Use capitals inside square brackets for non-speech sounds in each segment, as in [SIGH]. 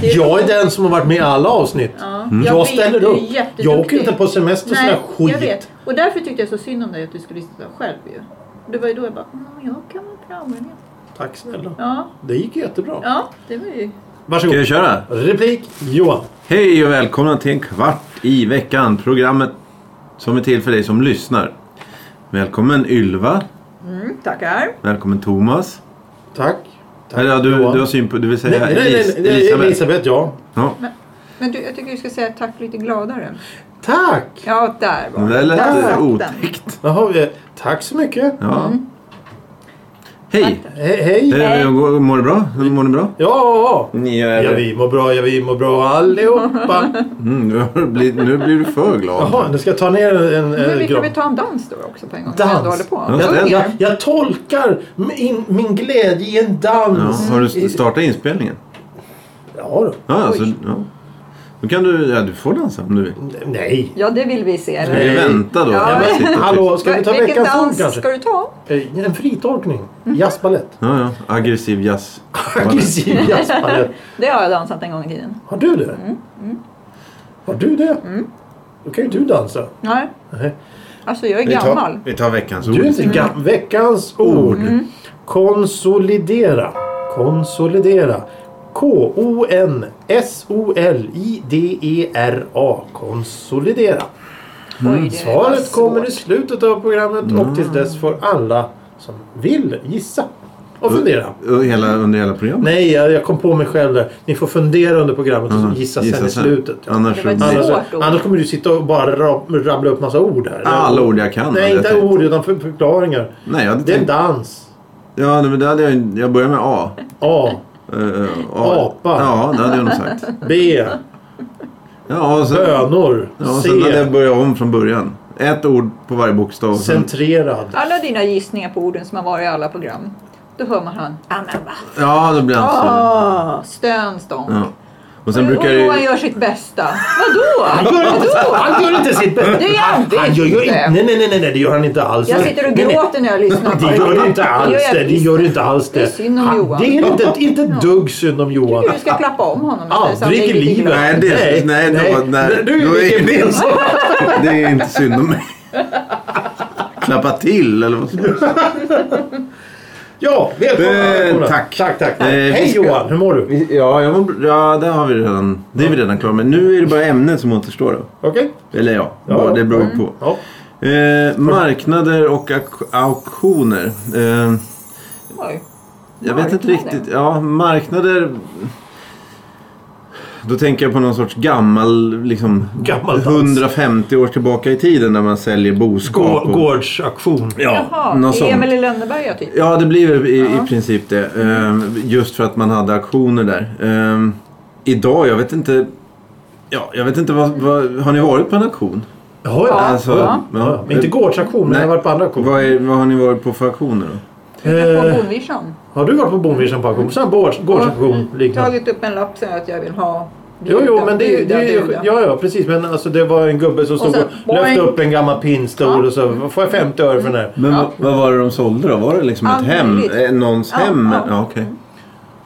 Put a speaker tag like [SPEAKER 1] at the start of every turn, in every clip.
[SPEAKER 1] Det är
[SPEAKER 2] Jag är
[SPEAKER 1] roligt.
[SPEAKER 2] den som har varit med i alla avsnitt.
[SPEAKER 1] Ja.
[SPEAKER 3] Mm.
[SPEAKER 2] Jag,
[SPEAKER 1] vet,
[SPEAKER 2] ställer
[SPEAKER 1] du är
[SPEAKER 2] upp. Jag åker
[SPEAKER 1] jätteduktig.
[SPEAKER 2] inte på semester och sån
[SPEAKER 1] Nej,
[SPEAKER 2] här
[SPEAKER 1] jag
[SPEAKER 2] skit.
[SPEAKER 1] vet. Och därför tyckte jag så synd om dig att du skulle sitta själv ju. Det var ju då jag bara, mm, jag kan vara bra med det.
[SPEAKER 2] Tack snälla.
[SPEAKER 1] Ja,
[SPEAKER 2] Det gick jättebra.
[SPEAKER 1] ja, det var ju...
[SPEAKER 3] Ska
[SPEAKER 2] Varsågod.
[SPEAKER 3] jag köra?
[SPEAKER 2] Replik Johan.
[SPEAKER 3] Hej och välkomna till en kvart i veckan. Programmet som är till för dig som lyssnar. Välkommen Ylva.
[SPEAKER 1] Mm, tackar.
[SPEAKER 3] Välkommen Thomas.
[SPEAKER 2] Tack. Tack
[SPEAKER 3] Eller ja, du,
[SPEAKER 2] Johan.
[SPEAKER 3] du har syn på, du vill
[SPEAKER 2] Nej,
[SPEAKER 3] säga
[SPEAKER 2] nej, nej,
[SPEAKER 3] Elis-
[SPEAKER 2] nej, nej,
[SPEAKER 3] Elisabeth.
[SPEAKER 2] Elisabeth ja.
[SPEAKER 3] Ja,
[SPEAKER 1] Men du, jag tycker du ska säga tack lite gladare.
[SPEAKER 2] Tack!
[SPEAKER 1] Ja, där var
[SPEAKER 3] det där lät
[SPEAKER 1] Där
[SPEAKER 3] eh,
[SPEAKER 1] satt den.
[SPEAKER 3] otäckt.
[SPEAKER 2] Jaha, eh, tack så mycket.
[SPEAKER 3] Ja.
[SPEAKER 1] Mm.
[SPEAKER 3] Hej!
[SPEAKER 2] He hej!
[SPEAKER 3] Eh, går- Mår du bra? Hur Mår ni bra?
[SPEAKER 2] Ja!
[SPEAKER 3] Ni
[SPEAKER 2] Ja,
[SPEAKER 3] är...
[SPEAKER 2] vi mår bra, ja, vi mår bra
[SPEAKER 1] [LAUGHS]
[SPEAKER 2] allihopa.
[SPEAKER 3] Mm, nu, har du blivit- nu blir du för glad.
[SPEAKER 2] Jaha, nu ska jag ta ner en
[SPEAKER 1] Men
[SPEAKER 2] eh,
[SPEAKER 1] vi kan
[SPEAKER 2] gran.
[SPEAKER 1] väl ta en dans då också på en gång? när
[SPEAKER 2] Dans.
[SPEAKER 1] vi ändå håller på.
[SPEAKER 3] Ja,
[SPEAKER 1] Sjunger.
[SPEAKER 3] den-
[SPEAKER 2] Jag, jag tolkar min, min glädje i en
[SPEAKER 3] Ja,
[SPEAKER 2] dans.
[SPEAKER 3] har du startat inspelningen?
[SPEAKER 2] Ja, då.
[SPEAKER 3] Ja,
[SPEAKER 1] Mm. Oj.
[SPEAKER 3] så, ja. Då kan du... Ja, du får dansa om du vill.
[SPEAKER 2] Nej.
[SPEAKER 1] Ja, det vill vi se. Eller?
[SPEAKER 2] Nej.
[SPEAKER 3] Vi väntar då.
[SPEAKER 1] Ja.
[SPEAKER 3] Jag bara sitter tyst.
[SPEAKER 2] Hallå, ska vi ta
[SPEAKER 1] Vilken
[SPEAKER 2] veckans ord
[SPEAKER 1] dans ska
[SPEAKER 2] kanske?
[SPEAKER 1] du Mhm. ta?
[SPEAKER 2] Eh, En fritolkning.
[SPEAKER 1] [LAUGHS]
[SPEAKER 2] Jazzbalett.
[SPEAKER 3] Ja, ja. Aggressiv jazz.
[SPEAKER 2] Aggressiv jazzbalett.
[SPEAKER 1] [LAUGHS] Det har jag dansat en gång i tiden.
[SPEAKER 2] Har du det?
[SPEAKER 1] Mm,
[SPEAKER 2] Har du det? Då kan ju du dansa.
[SPEAKER 1] Nej,
[SPEAKER 2] Nej.
[SPEAKER 1] alltså jag är
[SPEAKER 3] Vi tar,
[SPEAKER 1] gammal.
[SPEAKER 3] vi tar veckans ord.
[SPEAKER 2] Du är inte
[SPEAKER 1] Mm.
[SPEAKER 2] gam- Veckans ord. Konsolidera. Konsolidera. K-O-N-S-O-L-I-D-E-R-A. E Konsolidera.
[SPEAKER 1] Oj, det var
[SPEAKER 2] Mm, Svaret
[SPEAKER 1] svårt.
[SPEAKER 2] kommer i slutet av programmet och
[SPEAKER 1] Mm.
[SPEAKER 2] tills dess får alla som vill gissa och fundera.
[SPEAKER 3] Och Hela, under hela programmet?
[SPEAKER 2] Nej, jag jag kom på mig själv där. Ni får fundera under programmet
[SPEAKER 3] Mm.
[SPEAKER 2] och så gissa sen i slutet. Ja.
[SPEAKER 3] Annars,
[SPEAKER 1] Det var ett
[SPEAKER 3] annars-
[SPEAKER 1] svårt-
[SPEAKER 2] Annars,
[SPEAKER 1] ord.
[SPEAKER 2] annars kommer du sitta och bara ra- rabbla upp massa ord här.
[SPEAKER 3] alla ord jag kan. hade
[SPEAKER 2] Nej,
[SPEAKER 3] jag
[SPEAKER 2] inte
[SPEAKER 3] tänkt.
[SPEAKER 2] ord utan för- förklaringar.
[SPEAKER 3] Nej, jag hade
[SPEAKER 2] Det är en
[SPEAKER 3] tänkt...
[SPEAKER 2] dans.
[SPEAKER 3] Ja, nej, men det hade jag, jag börjar med A.
[SPEAKER 2] A,
[SPEAKER 3] Eh, eh, A.
[SPEAKER 2] Apa.
[SPEAKER 3] Ja, det hade jag nog sagt.
[SPEAKER 2] B,
[SPEAKER 3] Ja, och sen,
[SPEAKER 2] bönor,
[SPEAKER 3] ja, och
[SPEAKER 2] C,
[SPEAKER 3] sen hade jag börjat om från början. Ett ord på varje bokstav. Sen,
[SPEAKER 2] centrerad.
[SPEAKER 1] Alla dina gissningar på orden som har varit i alla program. Då hör man han. "Ah, men va?"
[SPEAKER 3] ja, då blir jag inte så...
[SPEAKER 1] Ah, Stön stång.
[SPEAKER 3] Ja. Och sen
[SPEAKER 1] och
[SPEAKER 3] brukar
[SPEAKER 1] Johan
[SPEAKER 3] det
[SPEAKER 1] gör sitt bästa. Vadå?
[SPEAKER 2] Han gör inte,
[SPEAKER 1] Vadå?
[SPEAKER 2] han gör inte sitt bästa.
[SPEAKER 1] Det gör han
[SPEAKER 2] han, han gör ju
[SPEAKER 1] inte.
[SPEAKER 2] inte. Nej, nej, nej, nej, nej, det gör han inte alls.
[SPEAKER 1] Jag sitter och
[SPEAKER 2] Nej, nej.
[SPEAKER 1] gråter när jag lyssnar på
[SPEAKER 2] Det gör du inte alls
[SPEAKER 1] jag
[SPEAKER 2] det. Det
[SPEAKER 1] visst.
[SPEAKER 2] gör du inte alls det.
[SPEAKER 1] Det är synd om
[SPEAKER 2] Han-
[SPEAKER 1] Johan.
[SPEAKER 2] Det är inte, inte ett dugg synd om Johan.
[SPEAKER 1] Tycker du ska klappa om honom? istället, så han
[SPEAKER 2] Aldrig i
[SPEAKER 1] blir lite
[SPEAKER 2] livet.
[SPEAKER 1] glad?
[SPEAKER 3] Nej, det- nej, då- nej,
[SPEAKER 2] Du
[SPEAKER 3] då är-
[SPEAKER 2] är vilken del som...
[SPEAKER 3] Det är inte synd om mig. Klappa till eller vad ska man säga?
[SPEAKER 2] Ja, välkomna.
[SPEAKER 3] Eh,
[SPEAKER 2] välkomna.
[SPEAKER 3] tack.
[SPEAKER 2] Tack, tack.
[SPEAKER 3] Eh, vi
[SPEAKER 2] Hej
[SPEAKER 3] ska-
[SPEAKER 2] Johan, hur mår du? Okej.
[SPEAKER 3] Vi- Ja, jag mår, br- ja, det har vi redan. Det är vi redan klara med. Nu är det bara ämnet som återstår då. Eller ja,
[SPEAKER 2] Ja, Mm.
[SPEAKER 3] bara, det
[SPEAKER 2] ja.
[SPEAKER 3] beror ju på.
[SPEAKER 2] Ja.
[SPEAKER 3] Eh, marknader och auk- auktioner. Eh,
[SPEAKER 1] Oj.
[SPEAKER 3] jag vet inte
[SPEAKER 1] Marknader?
[SPEAKER 3] riktigt. Ja, marknader. Då tänker jag på någon sorts gammal, liksom
[SPEAKER 2] Gammal dans.
[SPEAKER 3] 150 år tillbaka i tiden när man säljer boskap.
[SPEAKER 2] Gå-
[SPEAKER 3] och-
[SPEAKER 2] Gårdsaktion.
[SPEAKER 3] Ja,
[SPEAKER 1] Jaha,
[SPEAKER 3] något
[SPEAKER 1] det är
[SPEAKER 3] sånt.
[SPEAKER 1] Emil i Lönneberga typ.
[SPEAKER 3] Ja, det blir i, i princip det. Eh, just för att man hade auktioner där. Eh, idag, jag vet inte. Ja, jag vet inte vad, vad, har ni varit på en auktion?
[SPEAKER 2] Jaha, ja.
[SPEAKER 3] Alltså,
[SPEAKER 1] ja.
[SPEAKER 2] Ja, men inte gårdsaktion, men
[SPEAKER 3] Nej.
[SPEAKER 2] jag har varit på andra auktioner.
[SPEAKER 3] Vad, är, vad har ni varit på för auktioner då?
[SPEAKER 1] På
[SPEAKER 2] Eh,
[SPEAKER 1] Bonnvischan.
[SPEAKER 2] har du varit på Bonvision på auktion? Sån gårds, gårdsaktion liknande?
[SPEAKER 1] Mm. tagit upp en lapp som att jag vill ha.
[SPEAKER 2] Jo, jo, men det,
[SPEAKER 1] Bjuda,
[SPEAKER 2] det,
[SPEAKER 1] bjuda.
[SPEAKER 2] ja, ja, precis. Men alltså, det var en gubbe som stod
[SPEAKER 1] sen,
[SPEAKER 2] och lyfte
[SPEAKER 1] boing. Mm.
[SPEAKER 2] upp en gammal pinnstol och så får jag 50 öre för den här.
[SPEAKER 3] Men vad, vad var det de sålde då? Var det liksom
[SPEAKER 1] Allt
[SPEAKER 3] ett hem?
[SPEAKER 1] möjligt.
[SPEAKER 3] Eh, Någons
[SPEAKER 1] Ja,
[SPEAKER 3] hem?
[SPEAKER 1] ja.
[SPEAKER 3] Ja, ja okej.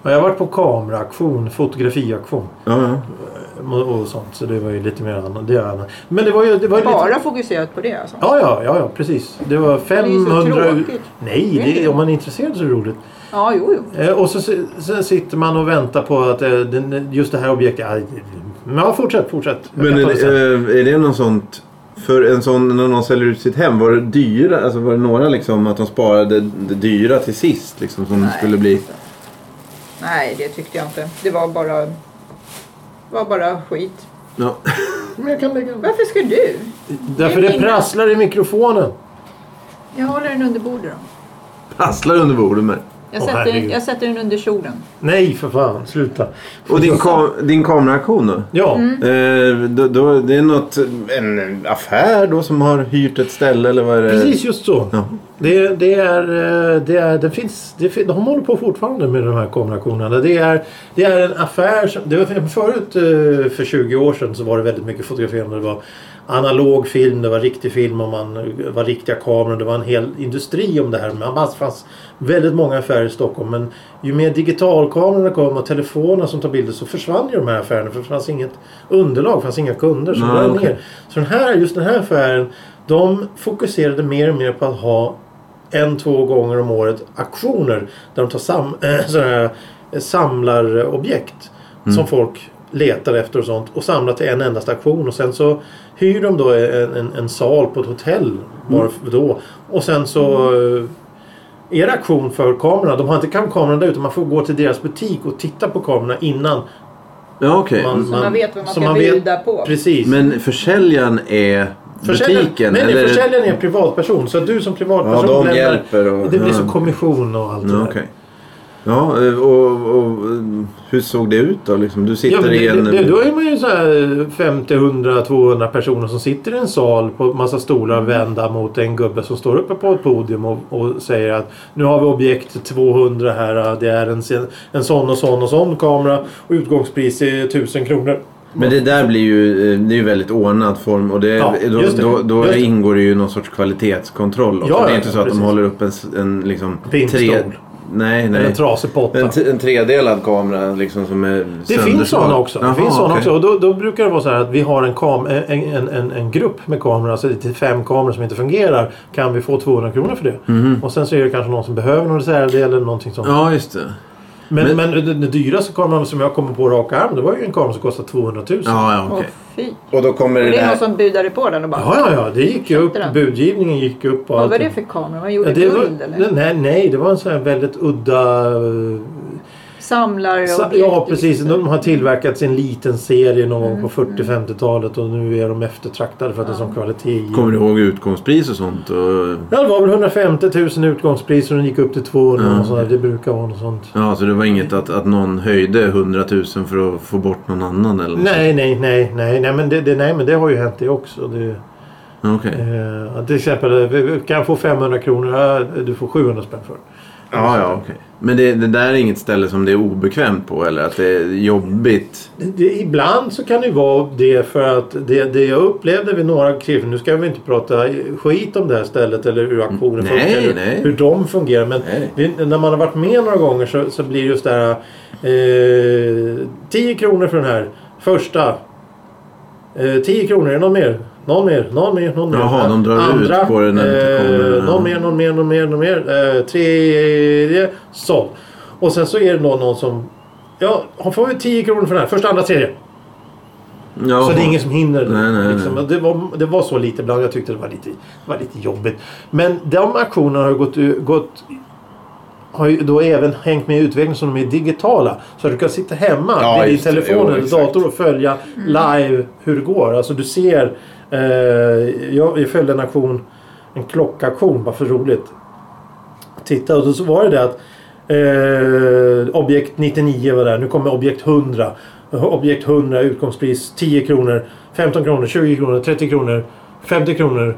[SPEAKER 2] Och jag har varit på kameraaktion, fotografiaktion
[SPEAKER 3] Ja, ja.
[SPEAKER 2] och, och sånt. Så det var ju lite mer annat. Det är annat. Men det var ju... Det var ju lite...
[SPEAKER 1] Bara fokuserat på det alltså.
[SPEAKER 2] Ja, ja, ja, ja, precis. Det var
[SPEAKER 1] ju så
[SPEAKER 2] 500...
[SPEAKER 1] tråkigt.
[SPEAKER 2] Nej, det är, om man är intresserad så är det roligt.
[SPEAKER 1] Ja, jo, jo.
[SPEAKER 2] Eh, och så, si- sen sitter man och väntar på att eh, den, just det här objektet... aj, Men ja, fortsätt, fortsätt. Jag
[SPEAKER 3] Men
[SPEAKER 2] kan
[SPEAKER 3] är,
[SPEAKER 2] ta det sen.
[SPEAKER 3] eh, är det något sånt? För en sån, när någon säljer ut sitt hem, var det dyra? Alltså var det några liksom att de sparade det dyra till sist? Liksom som
[SPEAKER 1] Nej.
[SPEAKER 3] skulle bli...
[SPEAKER 1] Nej, det tyckte jag inte. Det var bara, var bara skit.
[SPEAKER 3] Ja. [LAUGHS]
[SPEAKER 2] Men jag kan lägga den.
[SPEAKER 1] Varför ska du?
[SPEAKER 2] Därför det prasslar i mikrofonen.
[SPEAKER 1] Jag håller den under bordet då.
[SPEAKER 3] Prasslar under bordet med.
[SPEAKER 1] Jag,
[SPEAKER 2] Åh,
[SPEAKER 1] sätter,
[SPEAKER 2] herregud.
[SPEAKER 1] jag sätter den under kjolen.
[SPEAKER 2] Nej, för fan. Sluta.
[SPEAKER 3] Och din, ka din kameraaktion då?
[SPEAKER 2] Ja.
[SPEAKER 3] Eh, då, då? Det är något, en affär då som har hyrt ett ställe eller vad är det?
[SPEAKER 2] Precis just så.
[SPEAKER 3] Ja.
[SPEAKER 2] Det, det är, eh, det är, den finns, det, fin- de håller på fortfarande med de här kamerakonerna. Det är, det är en affär som, det var förut eh, för 20 år sedan så var det väldigt mycket fotograferande. Det var analog film, det var riktig film och man det var riktiga kameror. Det var en hel industri om det här. Man det fanns väldigt många affärer i Stockholm. Men ju mer digitalkamerorna kom och telefonerna som tar bilder så försvann ju de här affärerna. För det fanns inget underlag, det fanns inga kunder. Så,
[SPEAKER 3] Nej,
[SPEAKER 2] det var
[SPEAKER 3] okej.
[SPEAKER 2] ner. så den här, just den här affären de fokuserade mer och mer på att ha en, två gånger om året aktioner där de tar sam, [CLEARS THROAT] eh, sådana här eh, samlarobjekt som folk letar efter och sånt och samlar till en endast aktion och sen så hyr de då en, en, en sal på ett hotell bara för då och sen så eh, är det aktion för kamerorna. De har inte kam- kamerorna där utan man får gå till deras butik och titta på kamerorna innan.
[SPEAKER 3] Ja, okej.
[SPEAKER 2] Man-
[SPEAKER 1] Så man vet vad man
[SPEAKER 2] så
[SPEAKER 1] ska
[SPEAKER 2] man vet-
[SPEAKER 1] bjuda på.
[SPEAKER 2] Precis.
[SPEAKER 3] Men försäljaren är
[SPEAKER 2] Försäljaren-
[SPEAKER 3] butiken?
[SPEAKER 2] Nej,
[SPEAKER 3] eller?
[SPEAKER 2] nej, försäljaren är en privatperson. Så du som
[SPEAKER 3] Ja,
[SPEAKER 2] privatperson
[SPEAKER 3] de
[SPEAKER 2] lämnar-
[SPEAKER 3] hjälper och...
[SPEAKER 2] Det blir
[SPEAKER 3] ja.
[SPEAKER 2] så kommission och allt
[SPEAKER 3] Ja,
[SPEAKER 2] det
[SPEAKER 3] okej. Ja, eh, och, och eh, hur såg det ut då? Liksom, du
[SPEAKER 2] Ja,
[SPEAKER 3] sitter
[SPEAKER 2] men
[SPEAKER 3] i
[SPEAKER 2] det,
[SPEAKER 3] en...
[SPEAKER 2] det, då är man ju så här 50, 100, 200 personer som sitter i en sal på massa stolar vända mot en gubbe som står uppe på ett podium och, och säger att nu har vi objekt 200 här. Det är en, sen- en sån och sån och sån kamera och utgångspris är 1000 kronor.
[SPEAKER 3] Men det där blir ju, eh, det är ju väldigt ordnad form och det,
[SPEAKER 2] Ja,
[SPEAKER 3] då,
[SPEAKER 2] just det.
[SPEAKER 3] då, då
[SPEAKER 2] Just det.
[SPEAKER 3] ingår det ju någon sorts kvalitetskontroll också.
[SPEAKER 2] Ja, ja,
[SPEAKER 3] det är inte så
[SPEAKER 2] ja,
[SPEAKER 3] att de
[SPEAKER 2] precis.
[SPEAKER 3] håller upp en, s- en liksom...
[SPEAKER 2] Pinnstol.
[SPEAKER 3] Nej,
[SPEAKER 2] Eller en
[SPEAKER 3] nej.
[SPEAKER 2] trasig potta.
[SPEAKER 3] En, t- en tredelad kamera liksom som är
[SPEAKER 2] Det finns sådana också.
[SPEAKER 3] Jaha,
[SPEAKER 2] det finns såna
[SPEAKER 3] okej.
[SPEAKER 2] också. Och då, då brukar det vara så här att vi har en, kam- en, en, en, en grupp med kameror, alltså det är fem kameror som inte fungerar. Kan vi få 200 kronor för det? Och sen så är det kanske någon som behöver någon reservdel eller någonting sånt.
[SPEAKER 3] Mhm. Ja, just det.
[SPEAKER 2] men, men, den den dyraste kameran som jag kommer på rak arm, det var ju en kamera som kostade 200 000. Ja,
[SPEAKER 3] Ja, ja, okej.
[SPEAKER 1] Åh fy.
[SPEAKER 3] Och då kommer det
[SPEAKER 1] Det är någon
[SPEAKER 3] där...
[SPEAKER 1] som budade på den och bara...
[SPEAKER 2] ja, ja. Det gick ju upp.
[SPEAKER 1] Köpte den.
[SPEAKER 2] Budgivningen gick ju upp. Och
[SPEAKER 1] Vad
[SPEAKER 2] allt.
[SPEAKER 1] var det för kamera? Man
[SPEAKER 2] Ja,
[SPEAKER 1] gjorde
[SPEAKER 2] det var,
[SPEAKER 1] guld eller?
[SPEAKER 2] nej, nej, det var en sån här väldigt udda... eh,
[SPEAKER 1] Samlar
[SPEAKER 2] Sa-
[SPEAKER 1] objekt,
[SPEAKER 2] Ja, precis. Mm.
[SPEAKER 1] liksom.
[SPEAKER 2] De har tillverkats i en liten serie någon gång på 40-50-talet och nu är de eftertraktade för att det är sån kvalitet. i-
[SPEAKER 3] Kommer du ihåg utgångspris och sånt? Och...
[SPEAKER 2] Ja, det var väl 150 000 utgångspris och den gick upp till 200
[SPEAKER 3] Mm.
[SPEAKER 2] och sådär. Det brukar vara något sånt.
[SPEAKER 3] Ja, så det var inget att, att någon höjde 100 000 för att få bort någon annan eller? något
[SPEAKER 2] Nej, nej, nej, nej, nej, men det, det, nej, men det har ju hänt det också. Det,
[SPEAKER 3] sånt? Okej.
[SPEAKER 2] eh, att till exempel, eh, vi- vi kan få 500 kronor, ja, du får 700 spänn för det.
[SPEAKER 3] Ja, ja, okej. Men det, det där är inget ställe som det är obekvämt på eller att det är jobbigt?
[SPEAKER 2] Det- det, ibland så kan det ju vara det för att det, det jag upplevde vid några tillfällen, nu ska vi inte prata skit om det här stället eller hur auktioner
[SPEAKER 3] Nej,
[SPEAKER 2] funkar, eller
[SPEAKER 3] nej.
[SPEAKER 2] hur de fungerar. Men
[SPEAKER 3] Nej.
[SPEAKER 2] det, när man har varit med några gånger så, så blir det just det här eh, 10 kronor för den här första. Eh, 10 kronor, är det någon mer? Någon mer, någon mer, någon mer.
[SPEAKER 3] Jaha, de drar ut
[SPEAKER 2] Andra,
[SPEAKER 3] på det när det inte kommer.
[SPEAKER 2] eh, Någon mer, någon mer, någon mer, någon mer. Eh, tredje, såld. Och sen så är det då någon som Ja, han får ju 10 kronor för den här. Första, andra, tredje.
[SPEAKER 3] Jaha.
[SPEAKER 2] Så det är ingen som hinner.
[SPEAKER 3] Nej, nej, nej.
[SPEAKER 2] liksom. Och Det, var, det var så lite ibland. Jag tyckte det var lite, det var lite jobbigt. Men de aktionerna har ju gått, u- gått har ju då även hängt med i utvecklingen som de är digitala. Så att du kan sitta hemma
[SPEAKER 3] Ja,
[SPEAKER 2] vid din
[SPEAKER 3] just det.
[SPEAKER 2] telefon
[SPEAKER 3] Jo,
[SPEAKER 2] eller
[SPEAKER 3] exakt.
[SPEAKER 2] dator och följa live hur det går. Alltså du ser. Eh, jag, jag följde en aktion, en klockaktion, bara för roligt. Titta och så var det det att eh, objekt 99 var där. Nu kommer objekt 100. Objekt 100 utgångspris 10 kronor, 15 kronor, 20 kronor, 30 kronor, 50 kronor,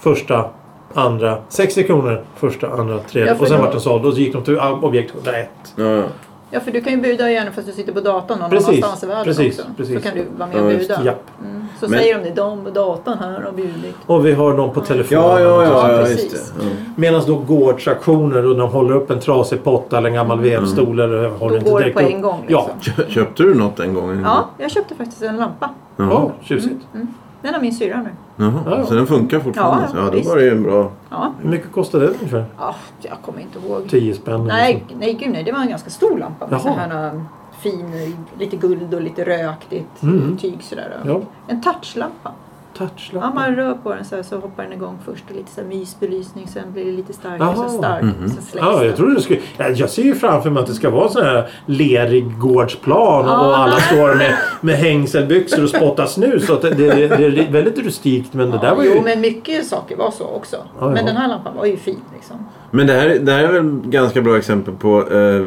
[SPEAKER 2] första, andra, 60 kronor, första, andra, tredje.
[SPEAKER 1] Ja, för
[SPEAKER 2] och sen
[SPEAKER 1] då-
[SPEAKER 2] vart den såld och så gick de till ah, objekt 101.
[SPEAKER 3] Ja, ja.
[SPEAKER 1] Ja, för du kan ju buda igen fast du sitter på datorn någon
[SPEAKER 2] Precis,
[SPEAKER 1] annanstans i världen
[SPEAKER 2] precis,
[SPEAKER 1] också.
[SPEAKER 2] precis.
[SPEAKER 1] Så kan du vara med
[SPEAKER 3] Ja,
[SPEAKER 1] och
[SPEAKER 3] just
[SPEAKER 1] buda.
[SPEAKER 2] Ja.
[SPEAKER 1] Mm. Så
[SPEAKER 3] Men-
[SPEAKER 1] säger de det, de på datorn här har bjudit.
[SPEAKER 2] Och vi har någon på telefonen.
[SPEAKER 3] ja, ja, ja, ja
[SPEAKER 1] precis.
[SPEAKER 3] just det. Ja.
[SPEAKER 2] Medan då gårdsaktioner och de håller upp en trasig potta eller en gammal vevstol. Eller, håller
[SPEAKER 1] Då
[SPEAKER 2] inte
[SPEAKER 1] går det
[SPEAKER 2] direkt
[SPEAKER 1] på
[SPEAKER 2] upp.
[SPEAKER 1] en gång.
[SPEAKER 2] Ja.
[SPEAKER 1] Liksom.
[SPEAKER 3] Kö- Köpte du något en gång?
[SPEAKER 1] Ja, jag köpte faktiskt en lampa.
[SPEAKER 3] Jaha.
[SPEAKER 2] Ja, tjusigt.
[SPEAKER 1] Mm. Den har min syrra nu.
[SPEAKER 3] Jaha.
[SPEAKER 2] Ja, ja.
[SPEAKER 3] Så den funkar fortfarande?
[SPEAKER 1] Ja,
[SPEAKER 3] Ja, ja, då
[SPEAKER 1] visst.
[SPEAKER 3] var det ju en bra...
[SPEAKER 1] Ja,
[SPEAKER 2] Hur mycket kostar den ungefär?
[SPEAKER 1] ah, jag kommer inte ihåg.
[SPEAKER 2] 10 spänn? eller
[SPEAKER 1] Nej, nej, gud nej. Det var en ganska stor lampa. Med
[SPEAKER 2] Typ Jaha.
[SPEAKER 1] så här äh, fin, lite guld och lite rökigt
[SPEAKER 2] Mm.
[SPEAKER 1] tyg sådär.
[SPEAKER 2] så. Ja,
[SPEAKER 1] En touchlampa. Ja,
[SPEAKER 2] touchlampa.
[SPEAKER 1] man rör på den så här så hoppar den igång först. Och lite så här mysbelysning. Sen blir det lite starkare.
[SPEAKER 2] Jaha.
[SPEAKER 1] Så stark.
[SPEAKER 3] Mhm.
[SPEAKER 1] Så släcks
[SPEAKER 2] Ja,
[SPEAKER 1] den.
[SPEAKER 2] jag, tror det skulle, ja, jag ser ju framför mig att det ska vara en sån här lerig gårdsplan
[SPEAKER 1] Ja.
[SPEAKER 2] och alla står med, med hängselbyxor och spottar snus. Så att det, det, det är väldigt rustikt men det där var
[SPEAKER 1] Jo,
[SPEAKER 2] ju...
[SPEAKER 1] men mycket saker var så också.
[SPEAKER 2] Ja, ja.
[SPEAKER 1] Men den här lampan var ju fin liksom.
[SPEAKER 3] Men det här, det här är väl ganska bra exempel på eh,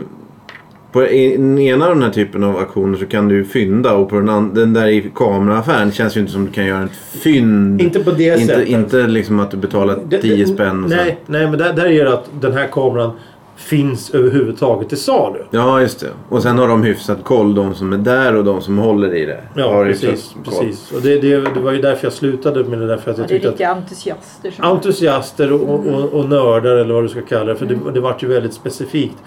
[SPEAKER 3] På en- ena av den här typen av auktioner så kan du fynda och på den, and- den där i kameraaffären känns ju inte som du kan göra ett fynd.
[SPEAKER 2] Inte på det
[SPEAKER 3] inte,
[SPEAKER 2] sättet.
[SPEAKER 3] inte liksom att du
[SPEAKER 2] Det-
[SPEAKER 3] betalar
[SPEAKER 2] det-
[SPEAKER 3] 10 spänn. Och så.
[SPEAKER 2] nej, nej, men där, där är det att den här kameran finns överhuvudtaget till salu.
[SPEAKER 3] Ja, just det. Och sen har de hyfsat koll, de som är där och de som håller i det.
[SPEAKER 2] Ja,
[SPEAKER 3] har
[SPEAKER 2] precis.
[SPEAKER 3] hyfsat koll.
[SPEAKER 2] precis. Och det, det, det var ju därför jag slutade med det där. För att
[SPEAKER 1] Ja,
[SPEAKER 2] jag
[SPEAKER 1] det är
[SPEAKER 2] tyckte att
[SPEAKER 1] riktiga entusiaster som...
[SPEAKER 2] entusiaster och, och, och, och nördar eller vad du ska kalla det. För det, det vart ju väldigt specifikt.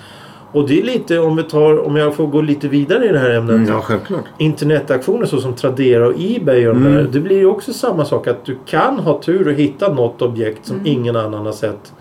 [SPEAKER 2] Och det är lite, om, vi tar, om jag får gå lite vidare i det här ämnet.
[SPEAKER 3] Mm, ja, självklart.
[SPEAKER 2] Internetaktioner så som Tradera och Ebay och de
[SPEAKER 3] Mm.
[SPEAKER 2] där, Det blir ju också samma sak att du kan ha tur och hitta något objekt som ingen annan har sett.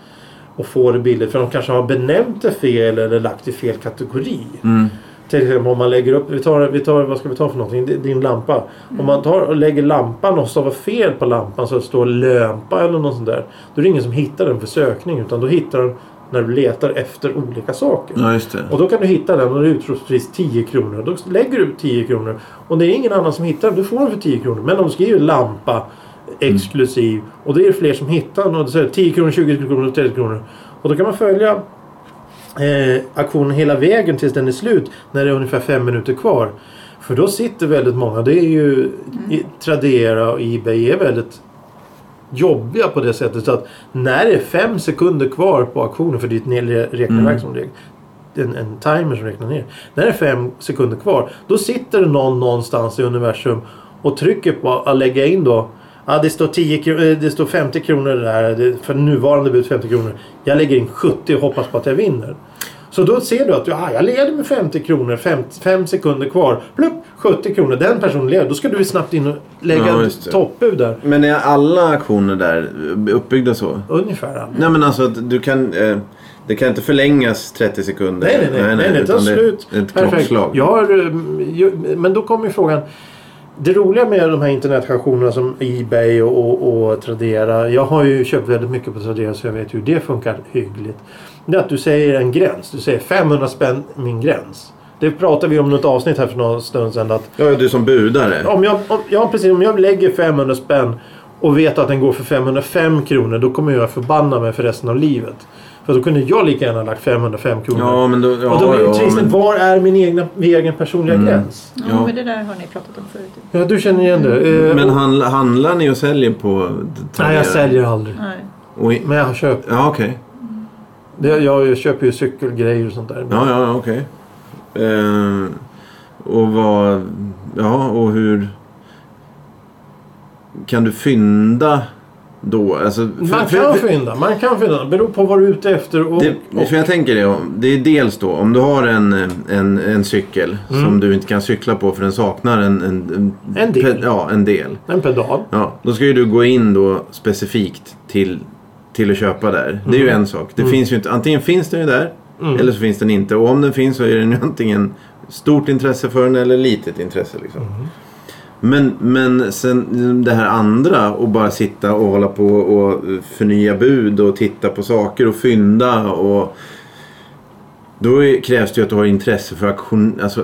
[SPEAKER 2] Och få det billigt. För de kanske har benämnt det fel eller lagt i fel kategori.
[SPEAKER 3] Mm.
[SPEAKER 2] Till exempel om man lägger upp, vi tar, vi tar vad ska vi ta för någonting? Din- Din lampa. Om man tar och lägger lampan och stavar fel på lampan så det står lömpa eller något sånt där. Då är det ingen som hittar den för sökning utan då hittar den när du letar efter olika saker.
[SPEAKER 3] Ja, just det.
[SPEAKER 2] Och då kan du hitta den och det är utropspris 10 kronor. Då lägger du ut 10 kronor och det är ingen annan som hittar den. Du får den för 10 kronor. Men om du skriver lampa exklusiv och det är fler som hittar den och det säger 10 kronor, 20 kronor, 30 kronor. Och då kan man följa eh, aktionen hela vägen tills den är slut när det är ungefär fem minuter kvar. För då sitter väldigt många. Det är ju i- Tradera och Ebay är väldigt jobbiga på det sättet så att när det är fem sekunder kvar på auktionen för det är ett nel-
[SPEAKER 3] Mm.
[SPEAKER 2] räkneverk som det en, en timer som räknar ner. När det är fem sekunder kvar då sitter det någon någonstans i universum och trycker på att lägga in då Ja, det står, 10 kronor, eh, det står 50 kronor där. Det- För nuvarande bud 50 kronor. Jag lägger in 70 och hoppas på att jag vinner. Så då ser du att du, ah, jag leder med 50 kronor, 5 sekunder kvar. Plupp, 70 kronor. Den personen leder. Då ska du snabbt in och lägga
[SPEAKER 3] Ja, just det.
[SPEAKER 2] ett toppbud där.
[SPEAKER 3] Men är alla auktioner där uppbyggda så?
[SPEAKER 2] Ungefär. alla.
[SPEAKER 3] Nej, men alltså att du kan... Eh, det kan inte förlängas 30 sekunder.
[SPEAKER 2] Nej, nej, nej. nej, nej, det tar
[SPEAKER 3] utan det-
[SPEAKER 2] slut.
[SPEAKER 3] det är Ett
[SPEAKER 2] Perfekt.
[SPEAKER 3] klockslag.
[SPEAKER 2] Jag har, ehm, ju- men då kommer ju frågan. Det roliga med de här internetstationerna som Ebay och, och, och Tradera. Jag har ju köpt väldigt mycket på Tradera så jag vet hur det funkar hyggligt. Det är att du säger en gräns. Du säger 500 spänn min gräns. Det pratade vi om i något avsnitt här för någon stund sedan. Att
[SPEAKER 3] Ja, du som budare.
[SPEAKER 2] om jag, om, ja, precis, om jag lägger 500 spänn och vet att den går för 505 kronor då kommer jag förbanna mig för resten av livet. För då kunde jag lika gärna ha lagt 505 kronor.
[SPEAKER 3] Ja, men då... Ja,
[SPEAKER 2] Och då blir det
[SPEAKER 3] ja,
[SPEAKER 2] trist.
[SPEAKER 3] men- Mm.
[SPEAKER 2] Var är min, egna, min egen personliga gräns?
[SPEAKER 1] Ja,
[SPEAKER 3] Ja.
[SPEAKER 1] men det där har ni pratat om förut.
[SPEAKER 2] Ja, du känner igen det. Eh,
[SPEAKER 3] Men
[SPEAKER 2] och-
[SPEAKER 3] han, handlar ni och säljer på
[SPEAKER 2] nej, jag säljer aldrig.
[SPEAKER 1] Nej.
[SPEAKER 3] Och i,
[SPEAKER 2] Men jag köper,
[SPEAKER 3] ja, okej.
[SPEAKER 2] jag, jag köper ju cykelgrejer och sånt där.
[SPEAKER 3] Ja, ja, ja, okej. Eh, och vad... Ja, och hur... Kan du fynda då? Alltså, för,
[SPEAKER 2] Man
[SPEAKER 3] för-
[SPEAKER 2] kan
[SPEAKER 3] för-
[SPEAKER 2] fynda. Man kan fynda. Det beror på vad du är ute efter. Och,
[SPEAKER 3] Det, för jag tänker det, om- det är dels då om du har en, en, en cykel
[SPEAKER 2] Mm.
[SPEAKER 3] som du inte kan cykla på för den saknar en... En,
[SPEAKER 2] En del.
[SPEAKER 3] ja, en del.
[SPEAKER 2] och en pedal.
[SPEAKER 3] Ja, då ska ju du gå in då specifikt till, till att köpa där. Det är ju en sak. Det
[SPEAKER 2] Mm.
[SPEAKER 3] finns ju inte, antingen finns den ju där
[SPEAKER 2] Mm.
[SPEAKER 3] eller så finns den inte. Och om den finns så är den ju antingen stort intresse för den eller litet intresse. Liksom.
[SPEAKER 2] Mm.
[SPEAKER 3] Men, men sen det här andra och bara sitta och hålla på och förnya bud och titta på saker och fynda och då är, krävs det ju att du har intresse för auktion, alltså